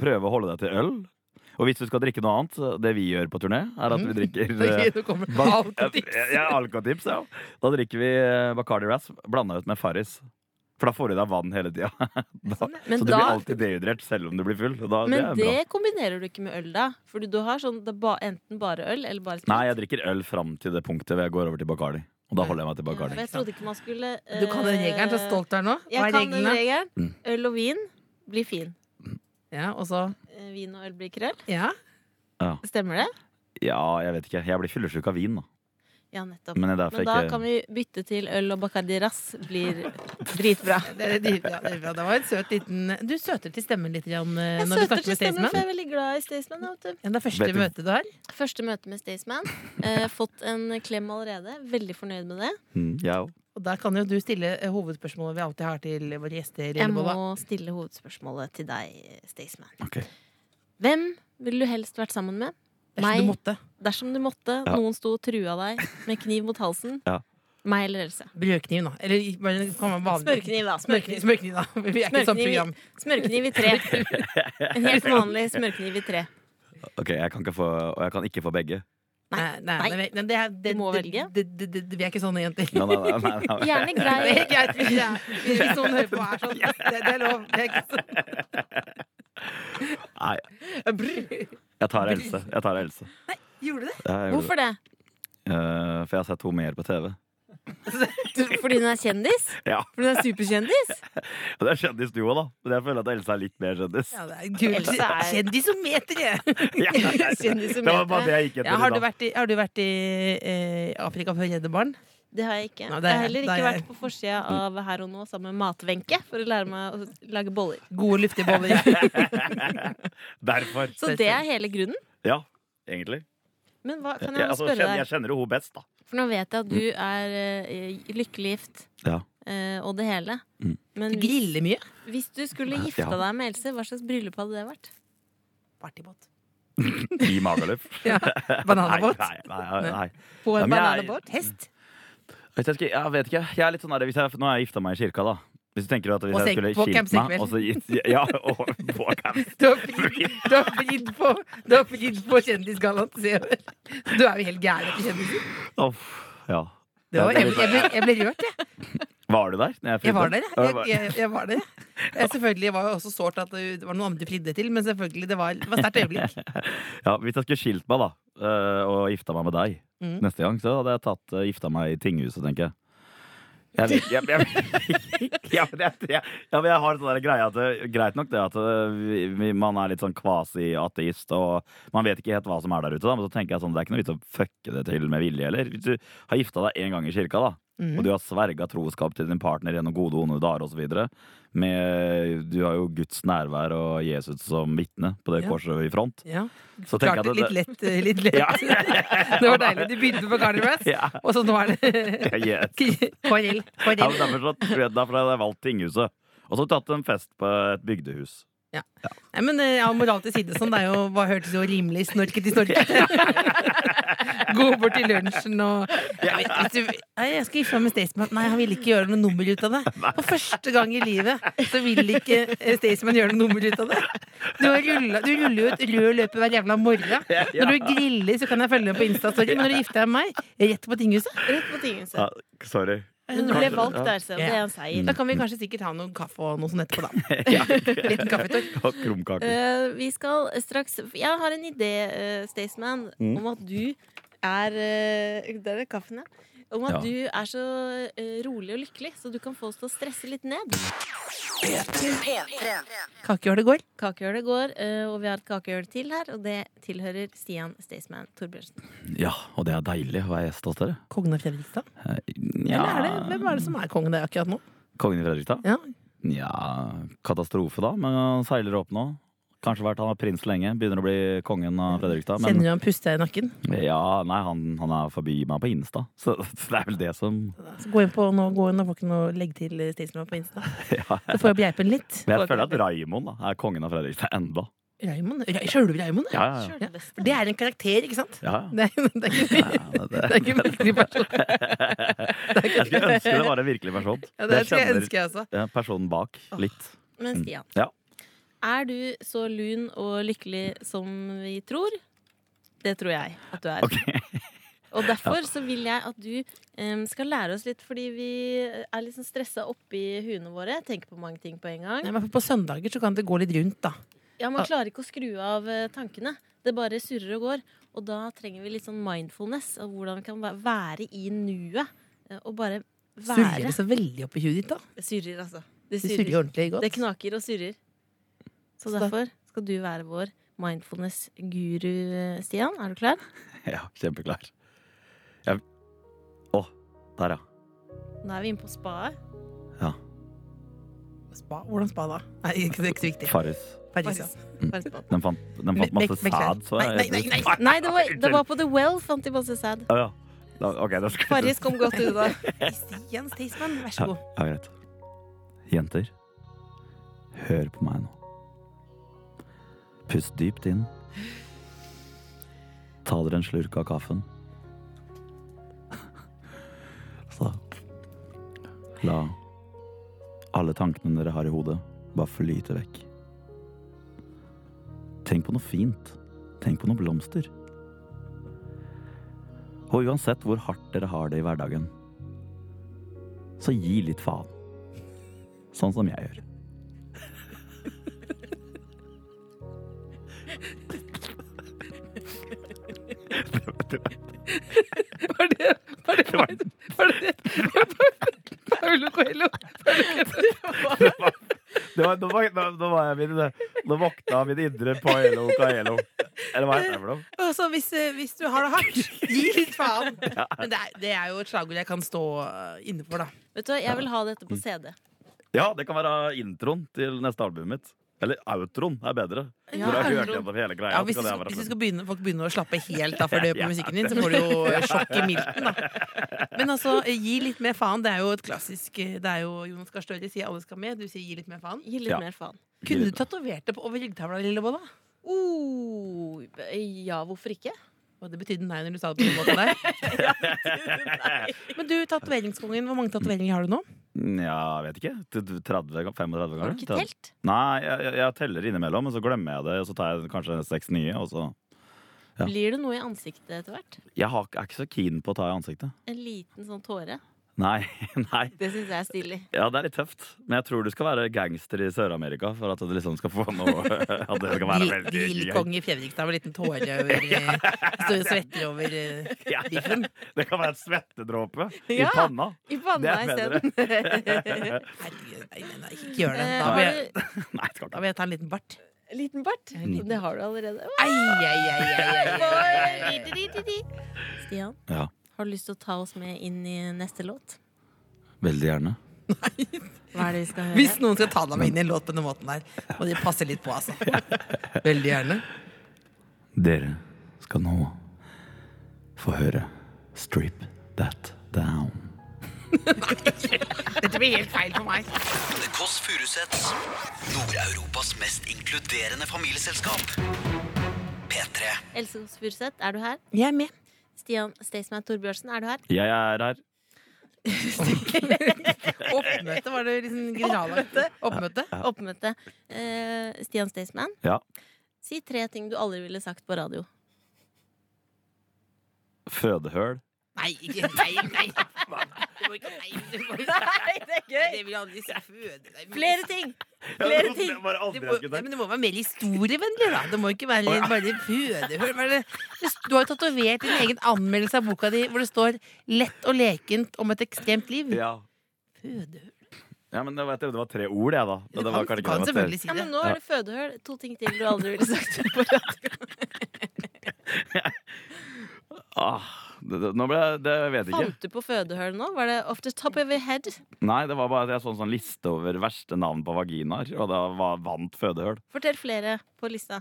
[SPEAKER 8] prøve å holde deg til øl. Og hvis du skal drikke noe annet, eh, det vi gjør på turné, er
[SPEAKER 3] Mhm.
[SPEAKER 8] at vi drikker eh,
[SPEAKER 4] Ok, nå kommer
[SPEAKER 8] Bak-
[SPEAKER 4] alkotips.
[SPEAKER 8] Ja, ja, alkotips, ja. Da drikker vi eh, Bacardi Rasp blanda ut med Farris. For da får du i deg vann hele tida. Da-
[SPEAKER 3] Men
[SPEAKER 4] eh,
[SPEAKER 8] Så du
[SPEAKER 3] da-
[SPEAKER 8] blir alltid dehydrert selv om du blir full. Og da, det
[SPEAKER 3] Men
[SPEAKER 8] er bra.
[SPEAKER 3] det kombinerer du ikke med øl, da? Fordi du har sånn det er ba, enten bare øl eller bare sprit.
[SPEAKER 8] Nei, jeg drikker øl fram til det punktet hvor jeg går over til Bacardi. Og da holder jeg meg til
[SPEAKER 3] For
[SPEAKER 8] Bacardi.
[SPEAKER 3] jeg trodde ikke man skulle eh,
[SPEAKER 4] Du kan den regelen, så stolt du er nå. Hva
[SPEAKER 3] Jeg
[SPEAKER 4] er
[SPEAKER 3] kan den
[SPEAKER 4] reglene?
[SPEAKER 3] regelen.
[SPEAKER 8] Mm.
[SPEAKER 3] Øl og vin blir fin.
[SPEAKER 4] Ja, og så
[SPEAKER 3] Eh, Vin og øl blir krøll.
[SPEAKER 4] Ja.
[SPEAKER 3] Stemmer det?
[SPEAKER 8] Ja, jeg vet ikke. Jeg blir fyllesyk av vin, da.
[SPEAKER 3] Ja, nettopp.
[SPEAKER 8] Men det er derfor
[SPEAKER 3] Men da
[SPEAKER 8] jeg
[SPEAKER 3] kan
[SPEAKER 8] ikke
[SPEAKER 3] vi bytte til øl og Bacardi Ras blir dritbra.
[SPEAKER 4] Det, det, ja, det, det var en søt liten Du søter til stemmen litt Jan, eh,
[SPEAKER 3] Jeg
[SPEAKER 4] når du
[SPEAKER 3] søter
[SPEAKER 4] snakker
[SPEAKER 3] til stemmen, for
[SPEAKER 4] med Staysman.
[SPEAKER 3] jeg er veldig glad i Staysman. jeg vet du.
[SPEAKER 4] Ja, det er første
[SPEAKER 8] Vet du-
[SPEAKER 4] møte du har.
[SPEAKER 3] Første møte med Staysman. Eh, fått en klem allerede. Veldig fornøyd med det.
[SPEAKER 8] Mm, jeg òg.
[SPEAKER 4] Og da kan jo du stille eh, hovedspørsmålet vi alltid har til våre gjester.
[SPEAKER 3] Jeg må
[SPEAKER 4] Lillebolla.
[SPEAKER 3] stille hovedspørsmålet til deg, Staysman.
[SPEAKER 8] Ok.
[SPEAKER 3] Hvem ville du helst vært sammen med?
[SPEAKER 4] Dersom du måtte.
[SPEAKER 3] Dersom du måtte,
[SPEAKER 8] Ja.
[SPEAKER 3] noen sto og trua deg med kniv mot halsen.
[SPEAKER 8] Ja.
[SPEAKER 3] Meg eller Else.
[SPEAKER 4] Brødkniv, da. Eller i- bare- kan være vanlig.
[SPEAKER 3] Smørkniv, da.
[SPEAKER 4] Smørkniv,
[SPEAKER 3] Smørkniv,
[SPEAKER 4] smørkniv, da. Vi er ikke et sånt
[SPEAKER 3] Smørkniv i-
[SPEAKER 4] program.
[SPEAKER 3] smørkniv i tre. En helt vanlig smørkniv i tre.
[SPEAKER 8] Ok, jeg kan ikke få, og jeg kan ikke få begge.
[SPEAKER 4] Nei, nei,
[SPEAKER 3] Nei.
[SPEAKER 4] nei, nei, det er, det,
[SPEAKER 3] Du må
[SPEAKER 4] det-
[SPEAKER 3] velge.
[SPEAKER 4] Det, det, det, det, vi er ikke sånne jenter.
[SPEAKER 8] Nei, nei, nei, nei, nei.
[SPEAKER 3] Gjerne
[SPEAKER 4] Det
[SPEAKER 3] grei.
[SPEAKER 4] er greit hvis, det er, hvis noen hører på og er sånn. Det, det er lov. Det er ikke sånn.
[SPEAKER 8] Nei,
[SPEAKER 4] Brr.
[SPEAKER 8] jeg tar Else. Jeg tar Else.
[SPEAKER 4] Gjorde du det?
[SPEAKER 8] Jeg gjorde det.
[SPEAKER 3] Hvorfor det?
[SPEAKER 8] Eh, for jeg har sett henne mer på TV.
[SPEAKER 3] Fordi hun er kjendis?
[SPEAKER 8] Ja.
[SPEAKER 3] Fordi hun er superkjendis?
[SPEAKER 8] Og Det er kjendis du òg, da. Men jeg føler at Else er litt mer kjendis.
[SPEAKER 4] Ja, det er kult.
[SPEAKER 3] Else er-
[SPEAKER 4] Kjendisometer, jeg.
[SPEAKER 8] Ja,
[SPEAKER 3] Kjendis som
[SPEAKER 8] det var
[SPEAKER 3] heter
[SPEAKER 8] bare det jeg gikk
[SPEAKER 4] Ja,
[SPEAKER 8] etter.
[SPEAKER 4] har,
[SPEAKER 8] i
[SPEAKER 4] du
[SPEAKER 8] dag.
[SPEAKER 4] vært i, har du vært i eh, Afrika for å redde barn?
[SPEAKER 3] Det har jeg ikke.
[SPEAKER 4] Nei, det
[SPEAKER 3] Jeg
[SPEAKER 4] er-
[SPEAKER 3] har heller
[SPEAKER 4] det
[SPEAKER 3] ikke
[SPEAKER 4] er-
[SPEAKER 3] vært på forsida av Her og nå sammen med Matvenke for å lære meg å lage boller.
[SPEAKER 4] Gode, luftige boller.
[SPEAKER 8] Derfor.
[SPEAKER 3] Så det er hele grunnen.
[SPEAKER 8] Ja, egentlig.
[SPEAKER 3] Men hva kan
[SPEAKER 8] Jeg,
[SPEAKER 3] jeg
[SPEAKER 8] altså,
[SPEAKER 3] spørre
[SPEAKER 8] kjenner,
[SPEAKER 3] deg?
[SPEAKER 8] jeg kjenner jo henne best, da.
[SPEAKER 3] For nå vet jeg at du er eh, lykkelig gift
[SPEAKER 8] Ja.
[SPEAKER 3] eh, og det hele.
[SPEAKER 8] Mm.
[SPEAKER 3] Men hvis,
[SPEAKER 4] Grille mye.
[SPEAKER 3] hvis du skulle gifta
[SPEAKER 8] Ja.
[SPEAKER 3] deg med Else, hva slags bryllup hadde det vært?
[SPEAKER 4] Partybåt.
[SPEAKER 8] I Magaluf.
[SPEAKER 4] Ja. Bananabåt.
[SPEAKER 8] Nei, nei, nei, nei.
[SPEAKER 4] På
[SPEAKER 8] Ja,
[SPEAKER 4] en
[SPEAKER 8] men jeg-
[SPEAKER 4] bananabåt. Hest.
[SPEAKER 8] Vet Jeg, skal- jeg vet ikke. Jeg er litt sånn der, hvis jeg, nå har jeg gifta meg i kirka, da. Hvis du tenker at hvis
[SPEAKER 4] Og
[SPEAKER 8] jeg
[SPEAKER 4] senk-
[SPEAKER 8] skulle
[SPEAKER 4] på
[SPEAKER 8] skilt
[SPEAKER 4] campsykkel.
[SPEAKER 8] meg og så, gitt- Ja, og på camp.
[SPEAKER 4] Du har fridd, du har fridd på, du har fridd på Kjendisgallaen. sier jeg. Du er jo helt gæren etter kjendiser.
[SPEAKER 8] Uff, ja.
[SPEAKER 4] Det var-
[SPEAKER 8] Ja,
[SPEAKER 4] Jeg, jeg, ble, jeg ble rørt, jeg.
[SPEAKER 8] Var du der? når Jeg,
[SPEAKER 4] Jeg var
[SPEAKER 8] flyttet?
[SPEAKER 4] der, jeg. jeg, jeg, jeg var der, jeg. jeg. Selvfølgelig var jo også sårt at det var noen andre du flidde til, men selvfølgelig, det var, det var et sterkt øyeblikk.
[SPEAKER 8] Ja, hvis jeg skulle skilt meg da eh, og gifta meg med deg
[SPEAKER 4] Mm.
[SPEAKER 8] neste gang, så hadde jeg tatt, eh, gifta meg i tinghuset, tenker jeg. Jeg vet jeg, jeg, ja, men jeg, jeg, ja, men jeg har sånn der greie at det- Greit nok det at eh, vi, vi, man er litt sånn kvasi-ateist, og man vet ikke helt hva som er der ute, da, men så tenker jeg sånn, det er ikke noe vits å fucke det til med vilje heller. Hvis du har gifta deg én gang i kirka, da,
[SPEAKER 4] Mm.
[SPEAKER 8] og du har sverga troskap til din partner gjennom gode og onde dager osv. Du har jo Guds nærvær og Jesus som vitne på det
[SPEAKER 4] Ja.
[SPEAKER 8] korset i front.
[SPEAKER 4] Ja.
[SPEAKER 8] Så tenker
[SPEAKER 4] Klarte
[SPEAKER 8] jeg at
[SPEAKER 4] litt lett. eh, Litt lett.
[SPEAKER 8] Ja.
[SPEAKER 4] Det var deilig. Du begynte på Cardi Brass,
[SPEAKER 8] Ja.
[SPEAKER 4] og så nå er det
[SPEAKER 8] Ja, yes.
[SPEAKER 4] KRL.
[SPEAKER 8] ja, men derfor, så, tror jeg- derfor hadde jeg valgt tinghuset. Og så tatt en fest på et bygdehus.
[SPEAKER 4] Nei, men eh, ja, moral til side sånn, det er jo, hva hørtes jo rimelig snorket i snorket. Gå bort til lunsjen og jeg, vet, hvis du, nei, jeg skal gifte meg med Staysman. Nei, han ville ikke gjøre noe nummer ut av det. For første gang i livet så vil ikke eh, Staysman gjøre noe nummer ut av det. Du, har rullet, du ruller jo et rød løper hver jævla morgen. Når du griller, så kan jeg følge deg på Insta-story, men når du gifter deg med meg, rett på tinghuset.
[SPEAKER 3] Rett på tinghuset.
[SPEAKER 8] Ja, sorry.
[SPEAKER 3] Men du ble
[SPEAKER 8] Kanskje-
[SPEAKER 3] valgt
[SPEAKER 8] ja. Mm.
[SPEAKER 3] der, så det er en seier.
[SPEAKER 4] Da kan vi kanskje sikkert ha noe kaffe og noe sånt etterpå, da.
[SPEAKER 8] Ja.
[SPEAKER 4] Liten kaffetår.
[SPEAKER 8] Og krumkaker.
[SPEAKER 3] Eh, vi skal straks Jeg har en idé, uh, Staysman,
[SPEAKER 8] Mm.
[SPEAKER 3] om at du er eh, Der er kaffen, ja. Om at
[SPEAKER 8] Ja.
[SPEAKER 3] du er så eh, rolig og lykkelig, så du kan få oss til å stresse litt ned.
[SPEAKER 4] Kakehjørnet går.
[SPEAKER 3] Kakehjølet går, eh, og vi har et kakehjøl til her, og det tilhører Stian Staysman Torbjørnsen.
[SPEAKER 8] Ja, og det er deilig å være gjest hos dere.
[SPEAKER 4] Kongen av Fredrikstad?
[SPEAKER 8] Eh,
[SPEAKER 4] Eller er det, hvem er det som er kongen der akkurat nå?
[SPEAKER 8] Kongen i Fredrikstad?
[SPEAKER 4] Ja.
[SPEAKER 8] Ja, katastrofe, da. Men han seiler opp nå. Kanskje vært han har prins lenge. Begynner å bli kongen av Fredrikstad. Men
[SPEAKER 4] Kjenner du han puste i nakken?
[SPEAKER 8] ja, nei, han, han er forbi meg på Insta. Så, så det er vel det som
[SPEAKER 4] Så gå inn på nå, gå inn og få ikke noe legg til eh, Staysman på Insta.
[SPEAKER 8] ja.
[SPEAKER 4] Så får jeg bjeipen litt.
[SPEAKER 8] Men jeg føler at Raimond da, er kongen av Fredrikstad enda.
[SPEAKER 4] Raymond? Ra- Sjølve Raymond?
[SPEAKER 8] Ja, ja, ja.
[SPEAKER 3] Sjøl det beste.
[SPEAKER 4] For det er en karakter, ikke sant?
[SPEAKER 8] ja, ja.
[SPEAKER 4] Det er, det er ikke
[SPEAKER 8] Ja, det- det-
[SPEAKER 4] det er ikke en virkelig person.
[SPEAKER 8] Jeg skulle ønske det var en virkelig person.
[SPEAKER 4] Ja, det
[SPEAKER 8] Jeg
[SPEAKER 4] skulle jeg
[SPEAKER 8] kjenner
[SPEAKER 4] ønske, jeg også.
[SPEAKER 8] ja, personen bak litt.
[SPEAKER 3] Men Stian,
[SPEAKER 8] Ja.
[SPEAKER 3] er du så lun og lykkelig som vi tror? Det tror jeg at du er.
[SPEAKER 8] Ok.
[SPEAKER 3] Og derfor så vil jeg at du em, skal lære oss litt, fordi vi er litt sånn stressa oppi huene våre. Tenker på mange ting på en
[SPEAKER 4] Nei,
[SPEAKER 3] gang.
[SPEAKER 4] men Ah. på søndager så kan det gå litt rundt, da.
[SPEAKER 3] Ja, Man klarer ikke å skru av eh, tankene. Det bare surrer og går. Og da trenger vi litt sånn mindfulness av hvordan vi kan væ- være i nuet. eh, Og bare
[SPEAKER 4] Surrer
[SPEAKER 3] være
[SPEAKER 4] det så veldig opp i huet ditt, da?
[SPEAKER 3] Det surrer, altså. Det
[SPEAKER 4] Det surrer
[SPEAKER 3] surrer.
[SPEAKER 4] ordentlig godt.
[SPEAKER 3] Det knaker og surrer. Så
[SPEAKER 4] Så da-
[SPEAKER 3] derfor skal du være vår mindfulness-guru, eh, Stian. Er du klar?
[SPEAKER 8] Ja, kjempeklar. Jeg... Å, der ja.
[SPEAKER 3] Nå er vi inne på spaet.
[SPEAKER 4] Spa? Hvordan spa, da? Nei, ikke- det er ikke så viktig.
[SPEAKER 8] Farris.
[SPEAKER 4] Paris, ja.
[SPEAKER 3] Bare spa.
[SPEAKER 8] Den fant, den fant
[SPEAKER 4] Be-
[SPEAKER 8] masse
[SPEAKER 4] be- beklager.
[SPEAKER 8] sæd, så jeg.
[SPEAKER 4] Nei, nei, nei, nei.
[SPEAKER 3] Nei, det var, det var på The Well, fant de masse sæd.
[SPEAKER 8] Å, ja. Da, ok, da skal
[SPEAKER 3] Farris kom godt unna.
[SPEAKER 4] Stian Staysman, vær
[SPEAKER 8] Ja,
[SPEAKER 4] så god.
[SPEAKER 8] ja, greit. Jenter, hør på meg nå. Pust dypt inn. Ta dere en slurk av kaffen. Så Altså, la alle tankene dere har i hodet, bare flyte vekk. Tenk på noe fint. Tenk på noen blomster. Og uansett hvor hardt dere har det i hverdagen, så gi litt faen. Sånn som jeg gjør.
[SPEAKER 4] Var det Var det Var det Var det Paulo Coelho?
[SPEAKER 8] Det var, nå, var, nå, nå var jeg min, Nå våkna min indre paello caello. Eller hva heter det for noe?
[SPEAKER 4] Altså, hvis, eh, hvis du har det hardt, gi litt faen. Men det er, det er jo et slagord jeg kan stå eh, inne for, da.
[SPEAKER 3] Vet du hva, Jeg vil ha dette på CD.
[SPEAKER 8] Ja, det kan være introen til neste albumet mitt. Eller outroen er bedre.
[SPEAKER 3] Ja,
[SPEAKER 8] Når du har hørt
[SPEAKER 3] outroen.
[SPEAKER 8] gjennom hele greia.
[SPEAKER 4] Ja,
[SPEAKER 8] så
[SPEAKER 4] hvis
[SPEAKER 8] kan
[SPEAKER 4] du,
[SPEAKER 8] det
[SPEAKER 4] skal-
[SPEAKER 8] være sånn?
[SPEAKER 4] hvis du
[SPEAKER 8] bedre.
[SPEAKER 4] skal begynne, folk begynner å slappe helt av for det på musikken din, så får du jo eh, sjokk i milten, da. Men altså, eh, gi litt mer faen. Det er jo et klassisk eh, Det er jo Jonas Gahr Støre sier 'alle skal med', du sier 'gi litt mer faen'.
[SPEAKER 3] Gi litt
[SPEAKER 8] Ja.
[SPEAKER 3] mer faen.
[SPEAKER 4] Kunne du tatovert det på over ryggtavla, Lillebolla?
[SPEAKER 3] Oh, ja, hvorfor ikke?
[SPEAKER 4] Og det betydde nei når du sa det på den måten der. Men du, tatoveringskongen, hvor mange tatoveringer har du nå?
[SPEAKER 8] Ja, jeg vet ikke. Til 30, gang- 35
[SPEAKER 3] Har du
[SPEAKER 8] ganger?
[SPEAKER 3] ikke telt?
[SPEAKER 8] Nei, jeg, jeg- jeg teller innimellom, men så glemmer jeg det. Og så tar jeg kanskje seks nye. Og så Ja.
[SPEAKER 3] Blir det noe i ansiktet etter hvert?
[SPEAKER 8] Jeg har, er ikke så keen på å ta i ansiktet.
[SPEAKER 3] En liten sånn tåre?
[SPEAKER 8] Nei, nei.
[SPEAKER 3] Det syns jeg er stilig.
[SPEAKER 8] Ja, det er litt tøft. Men jeg tror du skal være gangster i Sør-Amerika for at du liksom skal få noe At det skal være
[SPEAKER 4] Hvil-
[SPEAKER 8] veldig
[SPEAKER 4] Hvil
[SPEAKER 8] gøy.
[SPEAKER 4] kong i Fredrikstad med en liten tåre over eh, Står og svetter over eh,
[SPEAKER 8] Ja,
[SPEAKER 4] biffen.
[SPEAKER 8] det kan være en svettedråpe i
[SPEAKER 3] Ja.
[SPEAKER 8] panna.
[SPEAKER 3] I
[SPEAKER 8] Det
[SPEAKER 3] panna
[SPEAKER 8] er
[SPEAKER 3] isteden.
[SPEAKER 4] Herregud, nei, nei, nei, ikke gjør det.
[SPEAKER 3] Eh,
[SPEAKER 4] Da
[SPEAKER 3] har
[SPEAKER 4] vil jeg,
[SPEAKER 3] du
[SPEAKER 8] Nei, det skal
[SPEAKER 4] da
[SPEAKER 8] ikke
[SPEAKER 4] vil jeg ta en liten bart.
[SPEAKER 3] liten bart?
[SPEAKER 8] Mm.
[SPEAKER 3] Det har du allerede.
[SPEAKER 4] Ai, ai, ai, ai, ai, ai, ai, ai.
[SPEAKER 3] Stian,
[SPEAKER 8] Ja.
[SPEAKER 3] har du lyst til å ta oss med inn i neste låt?
[SPEAKER 8] Veldig gjerne.
[SPEAKER 3] Hva er det vi skal høre?
[SPEAKER 4] Hvis noen skal ta deg med inn i en låt på denne måten her, må de passe litt på, altså. Veldig gjerne.
[SPEAKER 8] Dere skal nå få høre Strip That Down.
[SPEAKER 4] Dette blir helt feil for meg.
[SPEAKER 2] The Kåss Furuseths. Nord-Europas mest inkluderende familieselskap. P3.
[SPEAKER 3] Else Kåss Furuseth, er du her?
[SPEAKER 4] Jeg er med.
[SPEAKER 3] Stian Staysman Torbjørnsen, er du her?
[SPEAKER 8] Jeg er her.
[SPEAKER 4] Oppmøte, var det liksom generalaktig? Oppmøte?
[SPEAKER 3] Oppmøte. Eh, Stian Staysman,
[SPEAKER 8] Ja.
[SPEAKER 3] si tre ting du aldri ville sagt på radio.
[SPEAKER 8] Fødehøl.
[SPEAKER 4] Nei, ikke nei, nei. Du må ikke nei. Du må ikke nei.
[SPEAKER 3] det er
[SPEAKER 4] Det vil aldri si føde deg.
[SPEAKER 3] Flere ting! Flere ting!
[SPEAKER 4] Det må, ja, men det må være mer historievennlig, da. Det må ikke være
[SPEAKER 8] Å, ja.
[SPEAKER 4] bare fødehull. Hva er det- Du har jo tatovert din egen anmeldelse av boka di hvor det står 'Lett og lekent om et ekstremt liv'.
[SPEAKER 8] Ja.
[SPEAKER 4] Fødehull
[SPEAKER 8] ja, men det, vet jeg, det var tre ord, jeg, da. Men
[SPEAKER 4] Du
[SPEAKER 8] det var
[SPEAKER 4] kan, du
[SPEAKER 8] kanskje ikke
[SPEAKER 4] kan
[SPEAKER 8] det var
[SPEAKER 4] selvfølgelig si
[SPEAKER 3] Ja, men
[SPEAKER 4] det.
[SPEAKER 3] nå er det fødehull. To ting til du aldri ville sagt på radio.
[SPEAKER 8] tre. ah, det, det, Nå ble jeg Det jeg vet ikke.
[SPEAKER 3] Fant du på fødehull nå? Var det off the top of your head?
[SPEAKER 8] Nei, det var bare at jeg så en sånn liste over verste navn på vaginaer, og da var vant fødehøl.
[SPEAKER 3] Fortell flere på lista.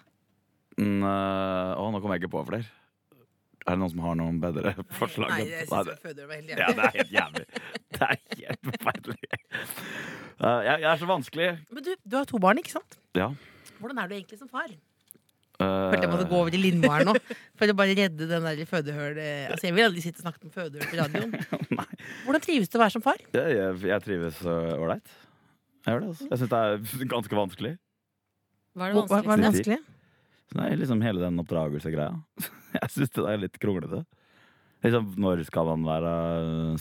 [SPEAKER 8] Mm, øh, å, nå kommer jeg ikke på flere. Er det noen som har noen bedre forslag?
[SPEAKER 4] Nei, jeg
[SPEAKER 8] Nei,
[SPEAKER 4] syns
[SPEAKER 8] det-
[SPEAKER 4] fødehull var helt
[SPEAKER 8] ja,
[SPEAKER 4] jævlig.
[SPEAKER 8] det er helt jævlig. Det er helt forferdelig. Uh, jeg, jeg er så vanskelig.
[SPEAKER 4] Men du, du har to barn, ikke sant?
[SPEAKER 8] Ja.
[SPEAKER 4] Hvordan er du egentlig som far?
[SPEAKER 8] Uh,
[SPEAKER 4] Følte jeg måtte gå over til Lindmo her nå for å bare redde den der fødehull Altså, jeg vil aldri sitte og snakke om fødehull på radioen.
[SPEAKER 8] Eh, Nei.
[SPEAKER 4] Hvordan trives du å være som far?
[SPEAKER 8] Jeg, jeg, jeg trives øh, ålreit. jeg gjør det, altså. Jeg syns det er ganske vanskelig.
[SPEAKER 3] Hva er det
[SPEAKER 4] Hva, hva er
[SPEAKER 3] vanskeligste?
[SPEAKER 4] det vanskelig?
[SPEAKER 8] Så det er liksom hele den oppdragelsegreia. Jeg syns det er litt kronglete. Liksom, når skal man være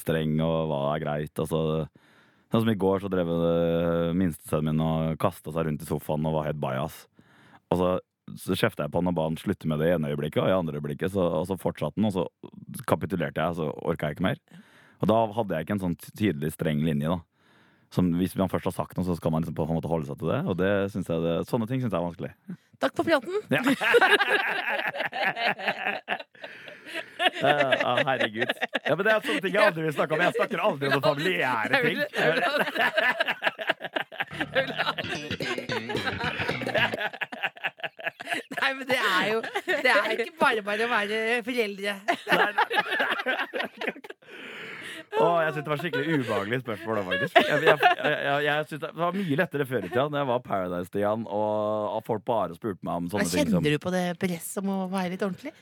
[SPEAKER 8] streng, og hva er greit? Altså, sånn som i går, så drev øh, minstesønnen min og kasta seg rundt i sofaen og var helt bajas. Og så, så kjefta jeg på han og ba han slutte med det i ene øyeblikket, og i andre øyeblikket så, og så fortsatte han, og så kapitulerte jeg, og så orka jeg ikke mer. Og da hadde jeg ikke en sånn tydelig, streng linje, da. Som hvis man først har sagt noe, så skal man liksom på en måte holde seg til det. Og det synes jeg det, sånne ting syns jeg er vanskelig.
[SPEAKER 4] Takk for praten.
[SPEAKER 8] Ja, ja, Eh, ah, herregud. Ja, men det er sånne ting jeg aldri vil snakke om. Jeg snakker aldri om noen familiære ting.
[SPEAKER 4] Nei, men det er jo Det er ikke bare bare å være foreldre.
[SPEAKER 8] Å, jeg synes det var skikkelig ubehagelig spørsmål da, faktisk. Jeg, jeg, jeg, jeg, jeg synes det var mye lettere før i tida, da jeg var Paradise-Stian, og at folk bare spurte meg om sånne ting
[SPEAKER 4] Kjenner
[SPEAKER 8] som
[SPEAKER 4] du på det presset om å være litt ordentlig?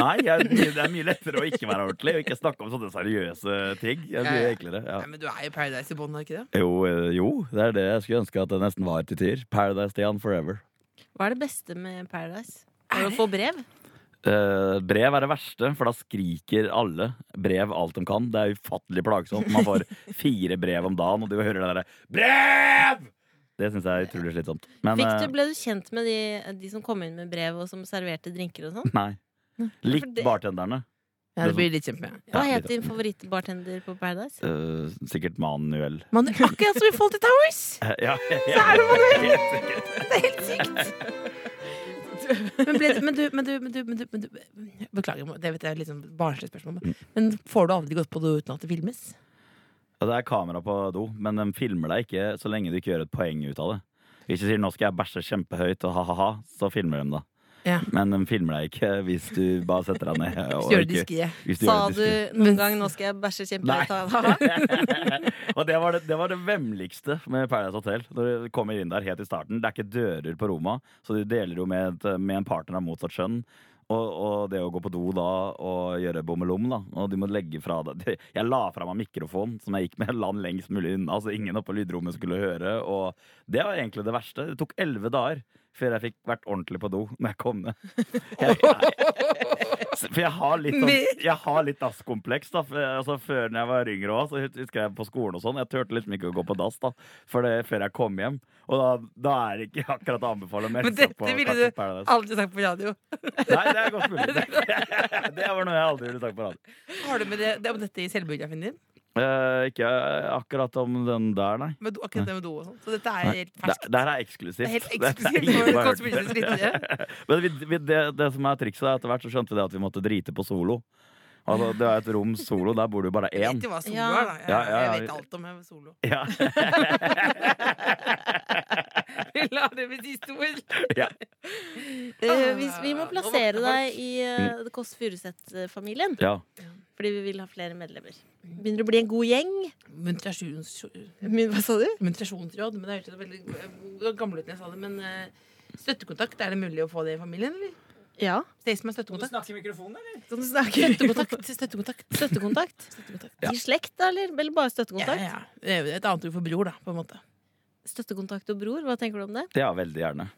[SPEAKER 8] Nei, jeg, det er mye lettere å ikke være ordentlig og ikke snakke om sånne seriøse ting. Det er
[SPEAKER 4] Ja,
[SPEAKER 8] mye
[SPEAKER 4] ja.
[SPEAKER 8] enklere. Ja.
[SPEAKER 4] Nei, men Du er jo Paradise i bånn, er ikke det?
[SPEAKER 8] Jo, eh, jo, det er det jeg skulle ønske at det nesten var til tider. Paradise-Stian forever.
[SPEAKER 3] Hva er det beste med Paradise? Var det å få brev?
[SPEAKER 8] Eh, brev er det verste, for da skriker alle brev alt de kan. Det er ufattelig plagsomt. Man får fire brev om dagen, og du hører det derre BREV! Det syns jeg er utrolig slitsomt. Men
[SPEAKER 3] Fikk du,
[SPEAKER 8] eh,
[SPEAKER 3] ble du kjent med de, de som kom inn med brev og som serverte drinker og sånn?
[SPEAKER 8] Nei. Likt
[SPEAKER 3] det-
[SPEAKER 8] bartenderne.
[SPEAKER 4] Ja, det
[SPEAKER 8] sånn-
[SPEAKER 4] blir litt kjempe med.
[SPEAKER 3] Hva
[SPEAKER 8] Ja,
[SPEAKER 3] het
[SPEAKER 8] litt-
[SPEAKER 3] din favorittbartender på Paradise?
[SPEAKER 8] Eh, sikkert Manuel.
[SPEAKER 4] Man, akkurat som i Faulty Towers!
[SPEAKER 8] Eh, ja, Helt sikkert.
[SPEAKER 4] Det er helt sykt! Men, ble, men, du, men, du, men, du, men, du, men du Beklager, det vet jeg er litt sånn barnslig spørsmål, men,
[SPEAKER 8] Mm.
[SPEAKER 4] men får du aldri gått på do uten at det filmes?
[SPEAKER 8] Ja, det er kamera på do, men de filmer deg ikke så lenge du ikke gjør et poeng ut av det. Hvis du sier 'nå skal jeg bæsje kjempehøyt' og ha-ha-ha, så filmer de det.
[SPEAKER 4] Ja.
[SPEAKER 8] Men de filmer deg ikke hvis du bare setter deg ned.
[SPEAKER 4] Hvis
[SPEAKER 8] og
[SPEAKER 4] du gjør det
[SPEAKER 8] ikke-
[SPEAKER 4] diskré.
[SPEAKER 8] hvis
[SPEAKER 3] Sa
[SPEAKER 8] gjør det
[SPEAKER 3] du
[SPEAKER 8] diskret.
[SPEAKER 3] noen gang 'nå skal jeg bæsje
[SPEAKER 8] Nei.
[SPEAKER 3] kjempehardt'?
[SPEAKER 8] og det var det, det var det vemmeligste med Paradise Hotel. Når du kommer inn der helt i starten Det er ikke dører på Roma, så du deler jo med, et, med en partner av motsatt kjønn. Og, og det å gå på do da og gjøre bommelom, da. Og du må legge fra deg det- Jeg la fra meg mikrofonen som jeg gikk med land lengst mulig unna, så ingen oppe på lydrommet skulle høre. Og det var egentlig det verste. Det tok elleve dager før jeg fikk vært ordentlig på do når jeg kom ned. Jeg, jeg, For jeg har litt sånn, jeg har litt dasskompleks. da for, altså, Før når jeg var yngre òg, så husker jeg på skolen og sånn. Jeg turte liksom ikke å gå på dass da for det, før jeg kom hjem. Og da, da er det ikke akkurat å anbefale å melde
[SPEAKER 4] Men
[SPEAKER 8] seg på
[SPEAKER 4] dette ville
[SPEAKER 8] Catch
[SPEAKER 4] du- Ah.
[SPEAKER 8] of Paradise.
[SPEAKER 4] Aldri sagt på radio.
[SPEAKER 8] Nei, det er godt mulig. Det, det var noe jeg aldri ville sagt på radio.
[SPEAKER 4] Har du med det, det er om dette i selvbiografien din?
[SPEAKER 8] Eh, ikke akkurat om den der, nei.
[SPEAKER 4] Med do, akkurat det med do og sånn. Så dette er
[SPEAKER 8] Nei,
[SPEAKER 4] helt
[SPEAKER 8] Det,
[SPEAKER 4] ferskt.
[SPEAKER 8] det her er eksklusivt.
[SPEAKER 4] Det er helt
[SPEAKER 8] Dette er
[SPEAKER 4] eksklusivt.
[SPEAKER 8] ingen
[SPEAKER 4] Det
[SPEAKER 8] som har
[SPEAKER 4] kan
[SPEAKER 8] hørt
[SPEAKER 4] spilles videre.
[SPEAKER 8] Men vi, vi, det, det som er trikset, er at etter hvert så skjønte vi det at vi måtte drite på solo. Altså, det er et rom solo, der bor du bare
[SPEAKER 4] Jeg
[SPEAKER 8] én.
[SPEAKER 4] vet jo hva solo
[SPEAKER 3] Ja.
[SPEAKER 4] er, da. Jeg,
[SPEAKER 8] Ja, ja, ja.
[SPEAKER 4] jeg vet alt om jeg er solo.
[SPEAKER 8] Ja.
[SPEAKER 4] Vi lar det bli siste ord.
[SPEAKER 8] Ja.
[SPEAKER 3] Eh, hvis vi må plassere deg i
[SPEAKER 8] Mm.
[SPEAKER 3] eh, The Kåss Furuseth-familien,
[SPEAKER 8] ja.
[SPEAKER 3] fordi vi vil ha flere medlemmer. Begynner å bli en god gjeng.
[SPEAKER 4] Muntrasjons-
[SPEAKER 3] Men Hva sa du?
[SPEAKER 4] Muntrasjonsråd. Men det hørtes veldig g- gammel ut når jeg sa det. Men eh, støttekontakt, er det mulig å få det i familien, eller?
[SPEAKER 3] Ja.
[SPEAKER 4] Stacy med støttekontakt.
[SPEAKER 7] snakke i mikrofonen, eller?
[SPEAKER 3] Kan du snakke?
[SPEAKER 4] Støttekontakt. Støttekontakt.
[SPEAKER 3] Støttekontakt?
[SPEAKER 4] støttekontakt.
[SPEAKER 8] Ja.
[SPEAKER 3] I slekt, da, eller? Eller bare
[SPEAKER 4] Ja,
[SPEAKER 3] støttekontakt?
[SPEAKER 4] ja. Det er jo Et annet ord for bror, da, på en måte.
[SPEAKER 3] Støttekontakt og bror, hva tenker du om det?
[SPEAKER 8] Det er veldig gjerne.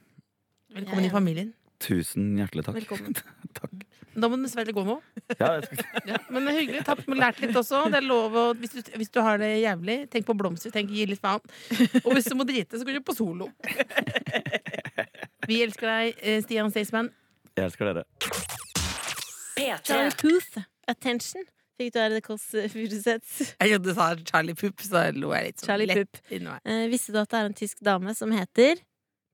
[SPEAKER 4] Velkommen
[SPEAKER 3] Ja, ja.
[SPEAKER 4] i familien.
[SPEAKER 8] Tusen hjertelig takk.
[SPEAKER 3] Velkommen.
[SPEAKER 8] takk.
[SPEAKER 4] Men Da må du dessverre gå nå.
[SPEAKER 8] Ja, jeg skal,
[SPEAKER 4] Ja, men det er hyggelig. Takk for lært litt også. Det er lov å, hvis, du, hvis du har det jævlig, tenk på blomster. Tenk gi litt faen. Og hvis du må drite, så går du på solo. Vi elsker deg, eh, Stian Staysman.
[SPEAKER 8] jeg elsker dere.
[SPEAKER 1] P3.
[SPEAKER 3] Charlie Puth, attention, fikk du her i The Kåss Furuseth.
[SPEAKER 4] Jeg trodde du sa Charlie Pupp, så lo jeg litt. sånn
[SPEAKER 3] Charlie Pupp.
[SPEAKER 4] Pupp.
[SPEAKER 3] Eh, visste du at det er en tysk dame som heter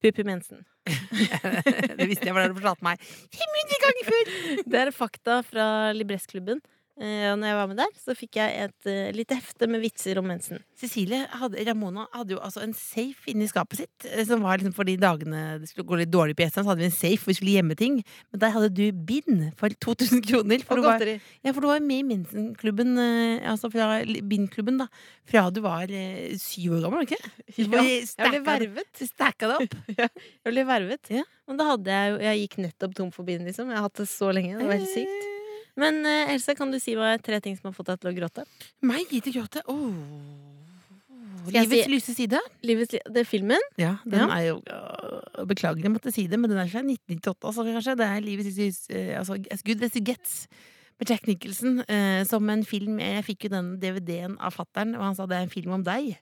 [SPEAKER 3] Puppi Mensen?
[SPEAKER 4] Det visste jeg, for det har du fortalte meg 500 ganger før!
[SPEAKER 3] Det er fakta fra Libressklubben. Eh, og når jeg var med der, så fikk jeg et eh, lite hefte med vitser om mensen.
[SPEAKER 4] Cecilie hadde, Ramona hadde jo altså en safe inni skapet sitt, eh, som var liksom for de dagene det skulle gå litt dårlig på gjestene, så hadde vi en safe hvor vi skulle gjemme ting. Men der hadde du bind for 2000 kroner. For du var, ja, for du var med i Minsenklubben, eh, altså fra li- bindklubben, da, fra du var eh, syv år gammel, var du ikke? Du
[SPEAKER 3] Ja,
[SPEAKER 4] var
[SPEAKER 3] Jeg ble
[SPEAKER 4] stacka-
[SPEAKER 3] vervet.
[SPEAKER 4] Stacka det opp.
[SPEAKER 3] Jeg ble vervet.
[SPEAKER 4] Ja.
[SPEAKER 3] Men da hadde jeg jo Jeg gikk nettopp tom for bind, liksom. Jeg har hatt det så lenge. Det var helt sykt. Men eh, Else, kan du si meg tre ting som har fått deg til å gråte?
[SPEAKER 4] Meg gikk til å gråte. Åh.
[SPEAKER 3] Skal jeg
[SPEAKER 4] Livets lyse side.
[SPEAKER 3] Livets li det er filmen.
[SPEAKER 4] Ja, den
[SPEAKER 3] Ja.
[SPEAKER 4] er jo øh, Beklager jeg måtte si det, men den er fra 1998, altså, kanskje. Det er livets lys- øh, altså, As good as it gets. Med Jack Nicholson øh, som en film Jeg fikk jo den DVD-en av fattern, og han sa det er en film om deg.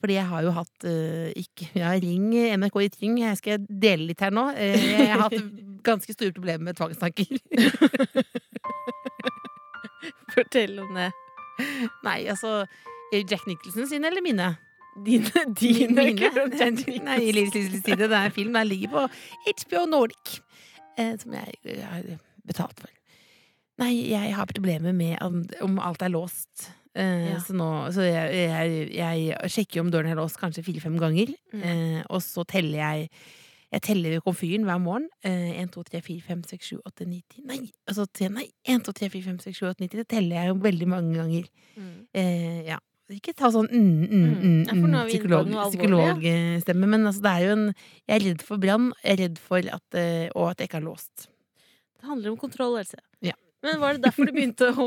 [SPEAKER 4] Fordi jeg har jo hatt øh, ikke, ja, Ring øh, NRK i Tryng. Jeg skal dele litt her nå. Eh, jeg har hatt ganske store problemer med tvangstanker.
[SPEAKER 3] Fortell om det.
[SPEAKER 4] Nei, altså Jack Nicholson sine eller mine?
[SPEAKER 3] Dine, dine
[SPEAKER 4] Mine?
[SPEAKER 3] ikke om Jack
[SPEAKER 4] Nei,
[SPEAKER 3] Nicholson.
[SPEAKER 4] Nei, i Livs Livs Livs Side. Det er en film der ligger på HBO Nordic. Eh, som jeg, eh, har betalt for. Nei, jeg har problemer med om, om alt er låst. Eh,
[SPEAKER 3] Ja.
[SPEAKER 4] Så, nå, så jeg, jeg, jeg sjekker jo om døren er låst kanskje fire-fem ganger.
[SPEAKER 3] Mm.
[SPEAKER 4] Eh, og så teller jeg Jeg teller jo komfyren hver morgen. Eh, 1, 2, 3, 4, 5, 6, 7, 8, 9, 10 Nei! Og så sier jeg nei. 1, 2, 3, 4, 5, 6, 7, 8, 9, 10. Det teller jeg jo veldig mange ganger.
[SPEAKER 3] Mm.
[SPEAKER 4] Eh, ja. Ikke ta sånn mm, mm,
[SPEAKER 3] Mm.
[SPEAKER 4] mm,
[SPEAKER 3] Ja, for nå er
[SPEAKER 4] mm,
[SPEAKER 3] vi inne på
[SPEAKER 4] psykolog,
[SPEAKER 3] noe alvorlig,
[SPEAKER 4] psykologstemme, men altså, det er jo en Jeg er redd for brann, jeg er redd for at, eh, og at jeg ikke har låst.
[SPEAKER 3] Det handler om kontroll, Else.
[SPEAKER 4] Ja.
[SPEAKER 3] Men var det derfor du begynte å,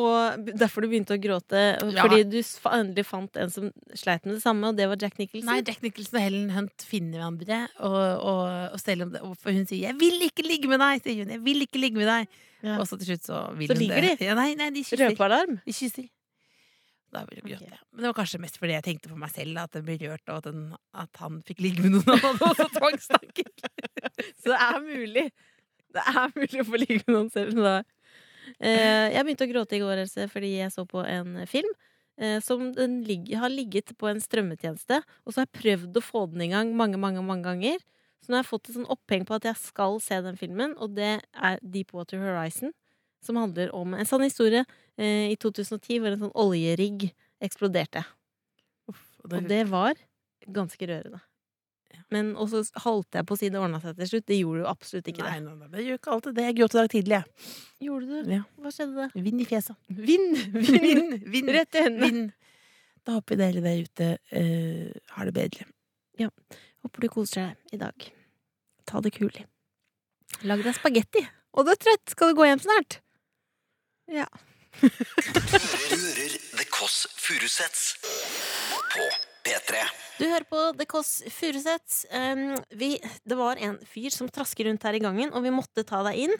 [SPEAKER 3] derfor du begynte å gråte?
[SPEAKER 4] Ja.
[SPEAKER 3] Fordi du s- endelig fant en som sleit med det samme, og det var Jack Nicholson?
[SPEAKER 4] Nei, Jack Nicholson og Helen Hunt finner hverandre, og, og, og selv om det, og for hun sier 'jeg vil ikke ligge med deg', sier hun. 'Jeg vil ikke ligge med deg'.
[SPEAKER 3] Ja.
[SPEAKER 4] Og så til slutt så vil
[SPEAKER 3] Så
[SPEAKER 4] hun
[SPEAKER 3] ligger
[SPEAKER 4] det. Ja, nei, nei, de kysser.
[SPEAKER 3] Røpealarm?
[SPEAKER 4] De kysser. Da vil du gråte.
[SPEAKER 3] Ok.
[SPEAKER 4] ja. Men det var kanskje mest fordi jeg tenkte på meg selv, da, at den ble rørt, og at, den, at han fikk ligge med noen annen, og så tvangstanker.
[SPEAKER 3] Så det er mulig. Det er mulig å få ligge med noen selv om det er Eh, Jeg begynte å gråte i går, Else, fordi jeg så på en film. eh, Som den ligger, har ligget på en strømmetjeneste. Og så har jeg prøvd å få den i gang mange mange, mange ganger. Så nå har jeg fått et sånn oppheng på at jeg skal se den filmen, og det er Deepwater Horizon. Som handler om en sann historie eh, i 2010 hvor en sånn oljerigg eksploderte.
[SPEAKER 4] Uff, og
[SPEAKER 3] Og det var ganske rørende. Men og så holdt jeg på å si det ordna seg til slutt. Det gjorde jo absolutt ikke
[SPEAKER 4] nei, Nei, nei, det gjør ikke alltid det. Jeg gråt i dag tidlig, jeg.
[SPEAKER 3] det. Gjorde du?
[SPEAKER 4] Ja.
[SPEAKER 3] Hva skjedde?
[SPEAKER 4] Vind i fjeset.
[SPEAKER 3] Vind!
[SPEAKER 4] Vind, vind,
[SPEAKER 3] Rett i hendene.
[SPEAKER 4] vind. Da håper jeg dere der ute eh, har det bedre.
[SPEAKER 3] Håper du koser deg i dag. Ta det kulig. Lag deg spagetti. Og du er trøtt. Skal du gå hjem snart? Ja.
[SPEAKER 2] Du hører The Kåss Furuseths på P3.
[SPEAKER 3] Du hører på The Kåss Ehm, Furuseth. Um, vi- det var en fyr som trasker rundt her i gangen, og vi måtte ta deg inn.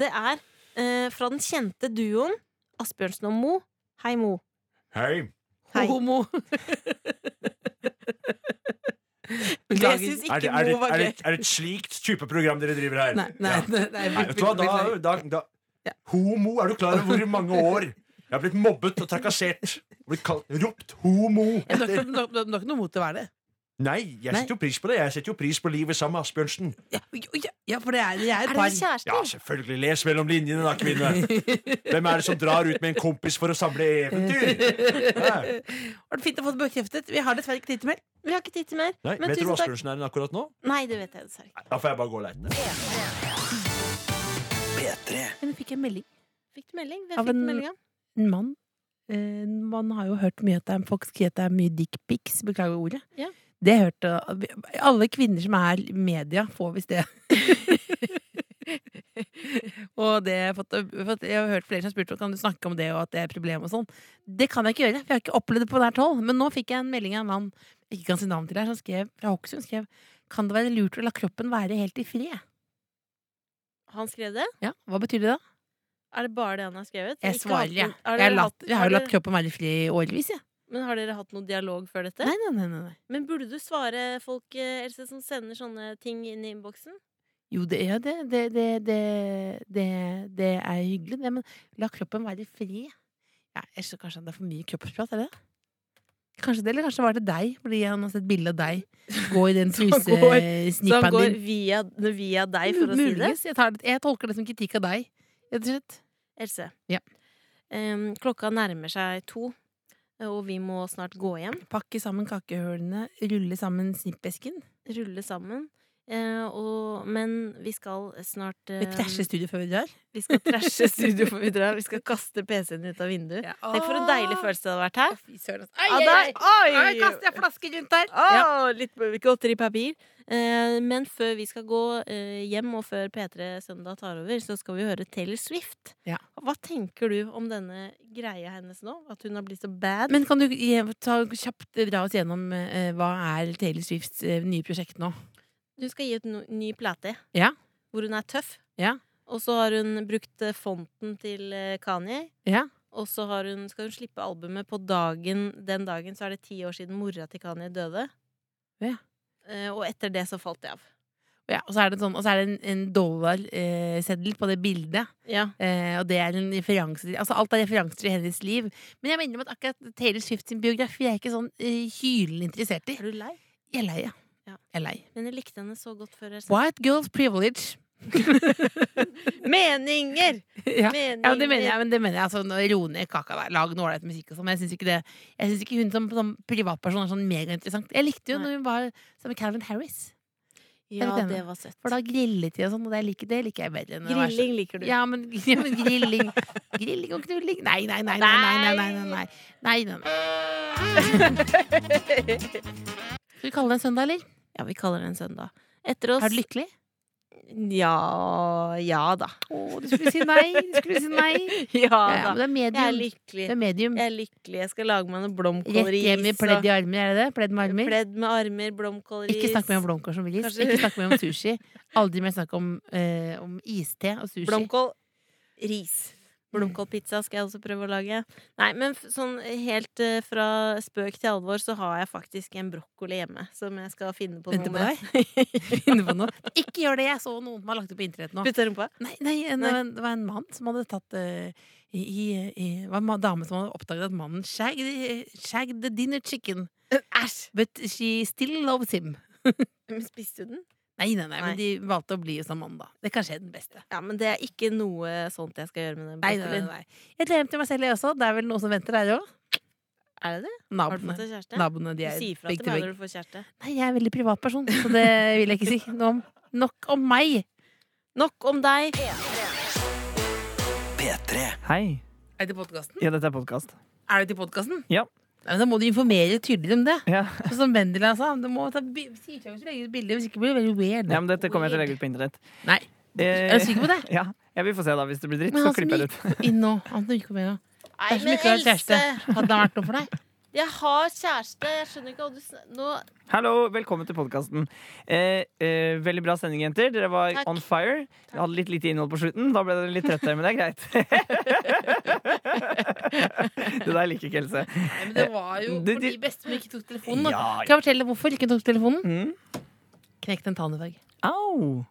[SPEAKER 3] Det er eh, fra den kjente duoen Asbjørnsen og Mo. Hei, Mo.
[SPEAKER 7] Hei!
[SPEAKER 3] Hei.
[SPEAKER 4] Homo.
[SPEAKER 3] Jeg syns
[SPEAKER 7] Er
[SPEAKER 3] ikke
[SPEAKER 7] det, er, det,
[SPEAKER 4] Mo var
[SPEAKER 7] er, det,
[SPEAKER 4] gøy.
[SPEAKER 7] er det et slikt type program dere driver her?
[SPEAKER 4] Nei, nei,
[SPEAKER 7] Ja.
[SPEAKER 4] nei, nei,
[SPEAKER 7] Nei, vet du hva, da, da, da
[SPEAKER 4] Ja.
[SPEAKER 7] Homo, er du klar over hvor mange år jeg har blitt mobbet og trakassert? Og blitt kalt, ropt homo!
[SPEAKER 4] Men Du har ikke- du har- du har ikke noe mot til å være det?
[SPEAKER 7] Nei, jeg
[SPEAKER 4] Nei.
[SPEAKER 7] setter jo pris på det. Jeg setter jo pris på livet sammen med Asbjørnsen.
[SPEAKER 4] Ja, ja, ja for det er, det er
[SPEAKER 3] Er
[SPEAKER 4] et
[SPEAKER 3] dere
[SPEAKER 4] par
[SPEAKER 7] Ja,
[SPEAKER 3] kjærester?
[SPEAKER 7] selvfølgelig. Les mellom linjene, da, kvinne. Hvem er det som drar ut med en kompis for å samle eventyr? Hæ?
[SPEAKER 4] Var det fint å få det bekreftet? Vi har dessverre ikke tid til mer.
[SPEAKER 3] Vi har ikke tid til mer.
[SPEAKER 7] Nei,
[SPEAKER 3] Men
[SPEAKER 7] vet du
[SPEAKER 3] tusen
[SPEAKER 7] hvor
[SPEAKER 3] takk.
[SPEAKER 7] Asbjørnsen er akkurat nå?
[SPEAKER 3] Nei, det vet jeg dessverre ikke.
[SPEAKER 7] Da får jeg bare gå og leite.
[SPEAKER 2] P3.
[SPEAKER 4] Men fikk jeg melding.
[SPEAKER 3] Fikk du melding? Hvem
[SPEAKER 4] Av
[SPEAKER 3] fikk
[SPEAKER 4] en-
[SPEAKER 3] du melding av?
[SPEAKER 4] En mann eh, Man har jo hørt mye at det er, folk sier at det er mye dickpics. Beklager ordet.
[SPEAKER 3] Ja.
[SPEAKER 4] Det hørte Alle kvinner som er i media, får visst det. og det har jeg fått, fått Jeg har hørt flere som har spurt om kan du snakke om det og at det er et problem. og sånn Det kan jeg ikke gjøre, for jeg har ikke opplevd det på nært hold. Men nå fikk jeg en melding av en mann jeg ikke kan si navn til her, som skrev fra Hokksund skrev Kan det være lurt å la kroppen være helt i fred?
[SPEAKER 3] Han skrev det?
[SPEAKER 4] Ja, Hva betyr det da?
[SPEAKER 3] Er det bare det han har skrevet? Ikke
[SPEAKER 4] Jeg
[SPEAKER 3] hatt
[SPEAKER 4] svarer, jeg.
[SPEAKER 3] noen- Har
[SPEAKER 4] Jeg har,
[SPEAKER 3] dere
[SPEAKER 4] latt,
[SPEAKER 3] hatt-
[SPEAKER 4] jeg har jo
[SPEAKER 3] dere-
[SPEAKER 4] latt kroppen være i fred i årevis, jeg.
[SPEAKER 3] Men har dere hatt noen dialog før dette?
[SPEAKER 4] Nei, nei, nei, nei, nei.
[SPEAKER 3] Men burde du svare folk eh, Else, som sender sånne ting inn i innboksen?
[SPEAKER 4] Jo, det er det. Det, det, det, det, det er hyggelig, det. Men la kroppen være i fred. Ja, jeg skjønner kanskje at det er for mye kroppsprat, er det det? Kanskje det, eller kanskje var det deg, fordi han har sett bilde av deg gå i den
[SPEAKER 3] han går- Som
[SPEAKER 4] trusesnipperen
[SPEAKER 3] går
[SPEAKER 4] din.
[SPEAKER 3] via, via deg, for å si det?
[SPEAKER 4] Muligens. Jeg, tar det- jeg tolker det som kritikk av deg, rett og slett.
[SPEAKER 3] Else.
[SPEAKER 4] Ja.
[SPEAKER 3] Em, klokka nærmer seg to, eh, og vi må snart gå hjem.
[SPEAKER 4] Pakke sammen kakehølene, rulle sammen snippesken.
[SPEAKER 3] Rulle sammen. Eh, og, men vi skal snart eh,
[SPEAKER 4] Vi trasher studioet før vi drar.
[SPEAKER 3] vi skal trashe studio for vi drar. Vi skal kaste PC-en ut av vinduet. Tenk for en deilig
[SPEAKER 4] Ah.
[SPEAKER 3] følelse det hadde vært her.
[SPEAKER 4] Fy søren, altså.
[SPEAKER 3] Av
[SPEAKER 4] Ai,
[SPEAKER 3] deg.
[SPEAKER 4] ai, ai! Ai,
[SPEAKER 3] Oi!
[SPEAKER 4] kaster jeg flasker rundt her!
[SPEAKER 3] Å,
[SPEAKER 4] Ja.
[SPEAKER 3] Litt godteripapir. Eh, men før vi skal gå eh, hjem, og før P3 Søndag tar over, så skal vi høre Taylor Swift.
[SPEAKER 4] Ja.
[SPEAKER 3] Hva tenker du om denne greia hennes nå? At hun har blitt så bad?
[SPEAKER 4] Men kan du gi- ta, kjapt dra oss gjennom eh, hva er Taylor Swifts eh, nye prosjekt nå?
[SPEAKER 3] Hun skal gi ut no ny plate
[SPEAKER 4] Ja.
[SPEAKER 3] hvor hun er tøff.
[SPEAKER 4] Ja.
[SPEAKER 3] Og så har hun brukt eh, fonten til eh, Kanye.
[SPEAKER 4] Ja.
[SPEAKER 3] Og så har hun, skal hun slippe albumet på dagen Den dagen så er det ti år siden mora til Kanye døde.
[SPEAKER 4] Ja.
[SPEAKER 3] Eh, og etter det så falt det av.
[SPEAKER 4] Og Ja, og så er det, sånn, og så er det en, en dollarseddel på det bildet.
[SPEAKER 3] Ja.
[SPEAKER 4] Eh, og det er en referanse til Altså alt er referanser til hennes liv. Men jeg mener om at akkurat Taylor Swift sin biografi er jeg ikke sånn eh, hylende interessert i.
[SPEAKER 3] Er du lei?
[SPEAKER 4] Jeg er lei, ja.
[SPEAKER 3] Ja.
[SPEAKER 4] Jeg er lei.
[SPEAKER 3] Men jeg likte henne så godt før. jeg sa-
[SPEAKER 4] White girls privilege.
[SPEAKER 3] Meninger!
[SPEAKER 4] ja.
[SPEAKER 3] Meninger.
[SPEAKER 4] Ja, men det mener jeg, men det mener jeg altså, nå- Ro ned kaka der, lag noe ålreit musikk og sånn. Men jeg syns ikke, det- jeg synes ikke hun som, som privatperson er sånn megainteressant. Jeg likte jo
[SPEAKER 3] Nei.
[SPEAKER 4] når hun var sammen med Calvin Harris,
[SPEAKER 3] Ja,
[SPEAKER 4] Jeg vet
[SPEAKER 3] det
[SPEAKER 4] enig.
[SPEAKER 3] var søtt.
[SPEAKER 4] for da grillet de og sånn, og det liker, det liker jeg bedre. enn å være så-
[SPEAKER 3] Grilling liker du.
[SPEAKER 4] Ja, men, ja, men grilling Grilling og knulling Nei, nei, nei, nei, nei, nei, nei, nei, nei. nei, nei, nei. Skal vi kalle det en søndag, eller?
[SPEAKER 3] Ja, vi kaller det en søndag. Etter oss
[SPEAKER 4] Er du lykkelig?
[SPEAKER 3] Ja ja da.
[SPEAKER 4] Å, du skulle si nei. Du skulle si nei.
[SPEAKER 3] Ja
[SPEAKER 4] Ja, ja,
[SPEAKER 3] da.
[SPEAKER 4] men det
[SPEAKER 3] Jeg er
[SPEAKER 4] er medium.
[SPEAKER 3] lykkelig.
[SPEAKER 4] Det er medium.
[SPEAKER 3] Jeg er lykkelig. Jeg skal lage meg noe
[SPEAKER 4] Rett
[SPEAKER 3] blomkålris.
[SPEAKER 4] hjem i pledd i armer, er det det? Pledd med armer?
[SPEAKER 3] Pledd med armer, blomkålris.
[SPEAKER 4] Ikke snakk mer om blomkål som ris.
[SPEAKER 3] Kanskje-
[SPEAKER 4] Ikke snakk mer om sushi. Aldri mer snakk om, eh, om iste og sushi.
[SPEAKER 3] Blomkål, ris. Blomkålpizza skal jeg også prøve å lage. Nei, men f- sånn helt eh, fra spøk til alvor så har jeg faktisk en brokkoli hjemme som jeg skal finne på
[SPEAKER 4] Vente
[SPEAKER 3] noe
[SPEAKER 4] på
[SPEAKER 3] med.
[SPEAKER 4] deg. Finne på noe. Ikke gjør det! Jeg så noen som har lagt det på internett nå.
[SPEAKER 3] Putte rumpa?
[SPEAKER 4] Nei, nei, en,
[SPEAKER 3] Nei.
[SPEAKER 4] Det var en mann som hadde tatt eh, i, i, i, det var en ma- dame som hadde oppdaget at mannen shagged, eh, shagged the dinner chicken.
[SPEAKER 3] Æsj!
[SPEAKER 4] But she still loves him.
[SPEAKER 3] Men Spiste du den?
[SPEAKER 4] Nei, nei, nei,
[SPEAKER 3] Nei.
[SPEAKER 4] men de valgte å bli hos en mann, da. Det er kanskje den beste.
[SPEAKER 3] Ja, men det er ikke noe sånt jeg skal gjøre med den
[SPEAKER 4] Nei, nei, nei,
[SPEAKER 3] brokkolien.
[SPEAKER 4] nei. Jeg gleder meg til meg selv, jeg også. Det er vel noen som venter der òg.
[SPEAKER 3] Er det det? Har du fått
[SPEAKER 4] Naboene.
[SPEAKER 3] deg kjæreste?
[SPEAKER 4] Naboene,
[SPEAKER 3] Du
[SPEAKER 4] de er
[SPEAKER 3] sier fra til
[SPEAKER 4] begge til
[SPEAKER 3] meg
[SPEAKER 4] vegg.
[SPEAKER 3] når du får kjæreste.
[SPEAKER 4] Nei, jeg er en veldig privat person, så det vil jeg ikke si noe om. Nok om meg!
[SPEAKER 3] Nok om deg.
[SPEAKER 2] P3.
[SPEAKER 9] Hei.
[SPEAKER 4] Er det til podkasten?
[SPEAKER 9] Ja, dette er podkast.
[SPEAKER 4] Er det til podkasten?
[SPEAKER 9] Ja.
[SPEAKER 4] Nei, men da må du informere tydeligere om det.
[SPEAKER 9] Ja.
[SPEAKER 4] Sånn som Vendela sa. Du må ta bi- si ifra hvis du legger ut bilder, hvis ikke blir det veldig weird.
[SPEAKER 9] ja, men dette kommer jeg til å legge ut på internett.
[SPEAKER 4] Nei.
[SPEAKER 9] Eh,
[SPEAKER 4] Er du sikker på det?
[SPEAKER 9] Ja, jeg vil få se da, Hvis det blir dritt,
[SPEAKER 4] Men
[SPEAKER 9] så
[SPEAKER 4] han som
[SPEAKER 9] klipper jeg det ut.
[SPEAKER 4] gikk inn nå, han som gikk med nå. Det
[SPEAKER 3] Nei,
[SPEAKER 4] er som ikke å ha kjæreste. Hadde det vært noe for deg?
[SPEAKER 3] Jeg har kjæreste. Jeg skjønner ikke hva du sn- Nå
[SPEAKER 9] Hallo, velkommen til podkasten. Eh, eh, veldig bra sending, jenter. Dere var
[SPEAKER 3] Takk.
[SPEAKER 9] on fire. Vi hadde litt lite innhold på slutten. Da ble dere litt trøtte, men det er greit. det der liker ikke Else.
[SPEAKER 4] Nei, men det var jo
[SPEAKER 9] Eh, Det-
[SPEAKER 4] fordi
[SPEAKER 9] det-
[SPEAKER 4] bestemor ikke tok telefonen. da.
[SPEAKER 9] Ja.
[SPEAKER 4] Kan jeg fortelle hvorfor ikke tok telefonen?
[SPEAKER 9] Mm.
[SPEAKER 4] Knekt en tann i dag.
[SPEAKER 9] Au!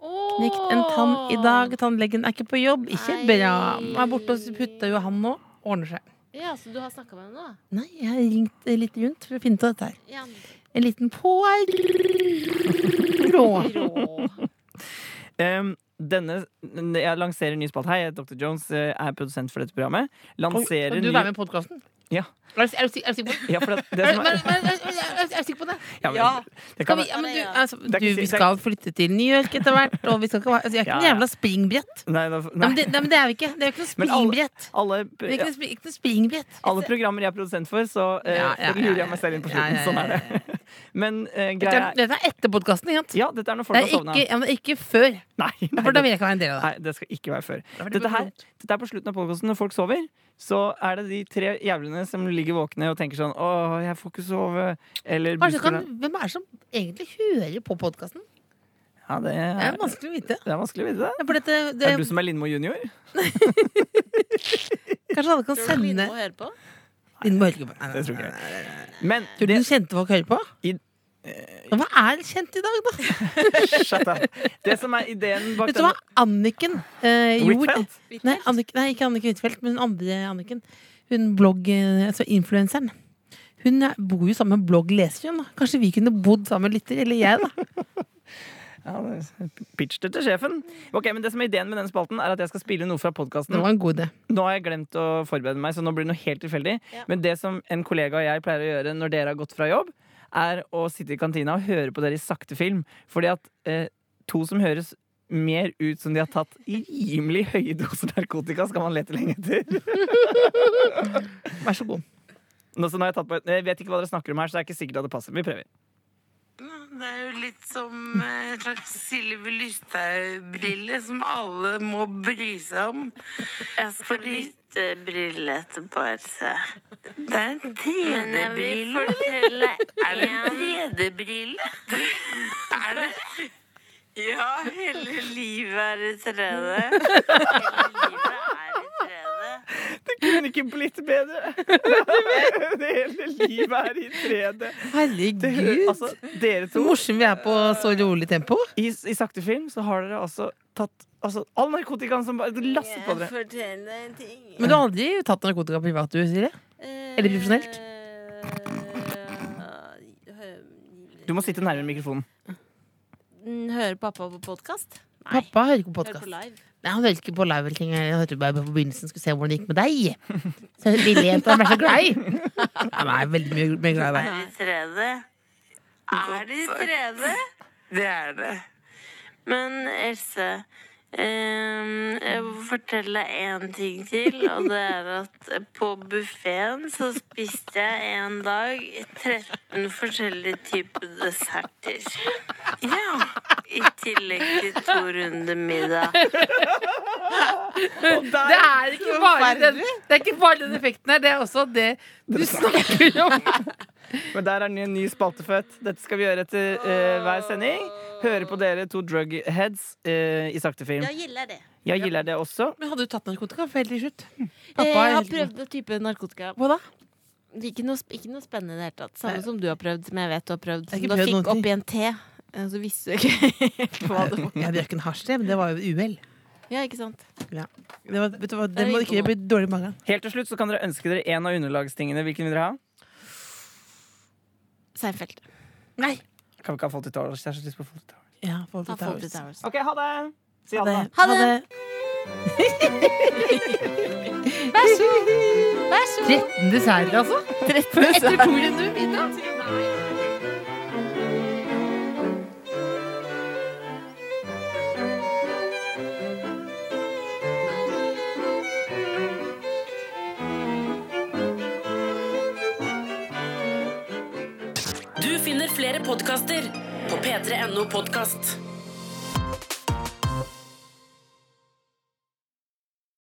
[SPEAKER 4] Knekt en tann i dag. Tannlegen er ikke på jobb. Ikke
[SPEAKER 3] Nei.
[SPEAKER 4] bra. Han er borte hos putta jo han nå. Ordner seg.
[SPEAKER 3] Ja, Så du har snakka med henne, da?
[SPEAKER 4] Nei, jeg har ringt eh, litt rundt for å finne ut av dette her.
[SPEAKER 3] Ja,
[SPEAKER 4] En liten pårå.
[SPEAKER 3] rå.
[SPEAKER 9] Em, denne, jeg lanserer en ny spalte. Hei, jeg heter Dr. Jones, eh, er produsent for dette programmet. Lanserer
[SPEAKER 4] Kan du være med i podkasten?
[SPEAKER 9] Ja.
[SPEAKER 4] Er du, er du, sik- er du sikker på det?
[SPEAKER 9] Ja, for det, det
[SPEAKER 4] Er
[SPEAKER 9] som
[SPEAKER 4] du,
[SPEAKER 9] er,
[SPEAKER 4] men- men- men- men- er du- er du sikker på det?
[SPEAKER 9] ja, men,
[SPEAKER 4] Ja.
[SPEAKER 9] det
[SPEAKER 4] Skal
[SPEAKER 9] kan
[SPEAKER 4] vi,
[SPEAKER 9] være,
[SPEAKER 4] ja, men du,
[SPEAKER 3] Ja, det er-
[SPEAKER 4] altså,
[SPEAKER 9] er
[SPEAKER 4] du,
[SPEAKER 9] ikke-
[SPEAKER 4] vi skal flytte til New York etter hvert. Og vi skal ikke, være- altså, jeg er ikke
[SPEAKER 9] Ja,
[SPEAKER 4] en
[SPEAKER 9] ja.
[SPEAKER 4] jævla springbrett.
[SPEAKER 9] nei,
[SPEAKER 4] Nei,
[SPEAKER 9] da-
[SPEAKER 4] men
[SPEAKER 9] nei,
[SPEAKER 4] det, nei, men det er vi ikke. Det er jo ikke noe
[SPEAKER 9] Men alle-
[SPEAKER 4] springbrett.
[SPEAKER 9] alle,
[SPEAKER 4] Det er ikke noe, spri- ikke noe springbrett.
[SPEAKER 9] alle programmer jeg er produsent for, så eh,
[SPEAKER 4] Ja, ja, ja,
[SPEAKER 9] lurer
[SPEAKER 4] ja,
[SPEAKER 9] jeg meg selv inn på
[SPEAKER 4] ja,
[SPEAKER 9] slutten.
[SPEAKER 4] ja,
[SPEAKER 9] Sånn
[SPEAKER 4] ja,
[SPEAKER 9] er det. Men eh,
[SPEAKER 4] Dette
[SPEAKER 9] greia
[SPEAKER 4] er, dette er etter podkasten, ikke sant?
[SPEAKER 9] Ja, dette er når folk
[SPEAKER 4] Det
[SPEAKER 9] har
[SPEAKER 4] er
[SPEAKER 9] sovna.
[SPEAKER 4] ikke, ja, men ikke før.
[SPEAKER 9] Nei, nei,
[SPEAKER 4] For da
[SPEAKER 9] det,
[SPEAKER 4] vil jeg ikke være en del av det.
[SPEAKER 9] nei, det skal ikke være før.
[SPEAKER 4] Da blir det
[SPEAKER 9] Dette, her,
[SPEAKER 4] vondt.
[SPEAKER 9] dette er på slutten av podkasten. Når folk sover, så er det de tre jævlene som ligger våkne og tenker sånn Å, jeg får ikke sove. Eller
[SPEAKER 4] Kanskje kan,
[SPEAKER 9] busker-
[SPEAKER 4] hvem er det som egentlig hører på podkasten?
[SPEAKER 9] Ja, det
[SPEAKER 4] Det
[SPEAKER 9] er,
[SPEAKER 4] er vanskelig å vite.
[SPEAKER 9] det er vanskelig å vite det.
[SPEAKER 4] Ja, For dette, det,
[SPEAKER 9] Er det du som er Lindmo junior?
[SPEAKER 4] kanskje alle
[SPEAKER 3] Tror
[SPEAKER 4] kan
[SPEAKER 3] du
[SPEAKER 4] sende
[SPEAKER 3] Line må høre på?
[SPEAKER 4] Linn må høre på. Nei, nei,
[SPEAKER 9] Det tror
[SPEAKER 4] nei,
[SPEAKER 9] jeg.
[SPEAKER 4] nei, nei.
[SPEAKER 9] Men
[SPEAKER 4] Tror du
[SPEAKER 9] det,
[SPEAKER 4] noen kjente folk hører på?
[SPEAKER 9] I-
[SPEAKER 4] Ja, Hva er kjent i dag, da?
[SPEAKER 9] shut up. det som er ideen bak
[SPEAKER 4] Vet du hva Anniken eh, gjorde?
[SPEAKER 9] Huitfeldt?
[SPEAKER 4] Nei, Annik, nei, ikke Anniken Huitfeldt, men hun andre Anniken. Hun blogg... eh, Altså influenseren. Hun er- bor jo sammen med bloggleser, hun. da. Kanskje vi kunne bodd sammen med lytter? Eller jeg, da.
[SPEAKER 9] Ja, det- Pitch det til sjefen. Ok, men det som er ideen med den spalten, er at jeg skal spille noe fra podkasten.
[SPEAKER 4] Det var en god idé.
[SPEAKER 9] Nå har jeg glemt å forberede meg, så nå blir det noe helt tilfeldig.
[SPEAKER 3] Ja.
[SPEAKER 9] Men det som en kollega og jeg pleier å gjøre når dere har gått fra jobb, er å sitte i kantina og høre på dere i sakte film. Fordi at eh, to som høres mer ut som de har tatt rimelig høye doser narkotika, skal man lete lenge etter.
[SPEAKER 4] Vær så god.
[SPEAKER 9] Nå, så nå har jeg, tatt på, jeg vet ikke hva dere snakker om her, så det er ikke sikkert at det passer. Vi prøver.
[SPEAKER 10] Det er jo litt som eh, en slags Sylvi Lysthaug-brille som alle må bry seg om. Jeg skal bytte brille etterpå, altså. Else. Det er en 3D-brille. Er det en 3D-brille? Er det Ja, hele livet er i 3D. Hele livet er i 3D.
[SPEAKER 9] Det kunne ikke blitt bedre! det hele livet er i 3D. Det, hø-
[SPEAKER 4] Herregud.
[SPEAKER 9] altså, dere
[SPEAKER 4] Så
[SPEAKER 9] to
[SPEAKER 4] morsomt vi er på så rolig tempo.
[SPEAKER 9] I, i sakte film så har dere altså tatt altså, all narkotikaen som bare lastet på dere.
[SPEAKER 10] Fortell deg en ting.
[SPEAKER 4] Men du har aldri tatt narkotika privat, du, Silje? Eller profesjonelt?
[SPEAKER 10] Eh,
[SPEAKER 9] Du må sitte nærmere mikrofonen.
[SPEAKER 3] Hører pappa på podkast? Nei.
[SPEAKER 4] Pappa hører ikke på
[SPEAKER 3] Hører
[SPEAKER 4] podkast.
[SPEAKER 3] på live.
[SPEAKER 4] Nei, han hører ikke på live eller ting. Han hørte bare på begynnelsen skulle se hvordan det gikk med deg. Så lille jenta han ble så glad i. Han er veldig mye, mye glad i deg.
[SPEAKER 10] Er det 3D? Er det 3D? Det er det. Men Else, ehm, jeg må fortelle én ting til. Og det er at på buffeen så spiste jeg en dag 13 forskjellige typer desserter. Ja. I tillegg til to runder middag.
[SPEAKER 4] Det er ikke bare den, det er ikke bare den effekten her, det er også det du snakker om.
[SPEAKER 9] Men der er en ny, ny spalte født. Dette skal vi gjøre etter eh, hver sending. Høre på dere to drugheads eh, i sakte film.
[SPEAKER 3] Jeg gilder det.
[SPEAKER 9] Jeg gilder det også.
[SPEAKER 4] Men hadde du tatt narkotika før helt til slutt?
[SPEAKER 3] Eh,
[SPEAKER 4] Pappa
[SPEAKER 3] jeg
[SPEAKER 4] er
[SPEAKER 3] har
[SPEAKER 4] helt
[SPEAKER 3] prøvd type narkotika.
[SPEAKER 4] Hva da?
[SPEAKER 3] Ikke noe, sp- ikke noe spennende i det hele tatt. Samme som du har prøvd, som jeg vet du har prøvd.
[SPEAKER 4] har
[SPEAKER 3] Som
[SPEAKER 4] ikke
[SPEAKER 3] du
[SPEAKER 4] prøvd noen
[SPEAKER 3] fikk
[SPEAKER 4] ting.
[SPEAKER 3] oppi en te. eh, Så visste du ikke helt hva det var.
[SPEAKER 4] Jeg drakk en hasj, det, men det var jo uhell.
[SPEAKER 3] Ja, ikke sant?
[SPEAKER 4] Det var- vet du hva, Det må ikke bli dårlig i magen.
[SPEAKER 9] Helt til slutt så kan dere ønske dere en av underlagstingene. Hvilken vil dere ha?
[SPEAKER 3] Seinfeld.
[SPEAKER 4] Nei.
[SPEAKER 9] Kan vi ikke ha Fawlty Towers? Jeg har så lyst på Fawlty Towers.
[SPEAKER 4] Ja, Fawlty
[SPEAKER 3] Ta Fawlty Towers.
[SPEAKER 4] Towers.
[SPEAKER 9] OK, ha det! Si
[SPEAKER 4] Ha
[SPEAKER 9] ha det.
[SPEAKER 4] det.
[SPEAKER 3] Ha det. Vær så god! Vær så god!
[SPEAKER 4] 13 desserter, altså? Etter to runder middag?
[SPEAKER 1] Du finner flere podkaster på p3.no podkast.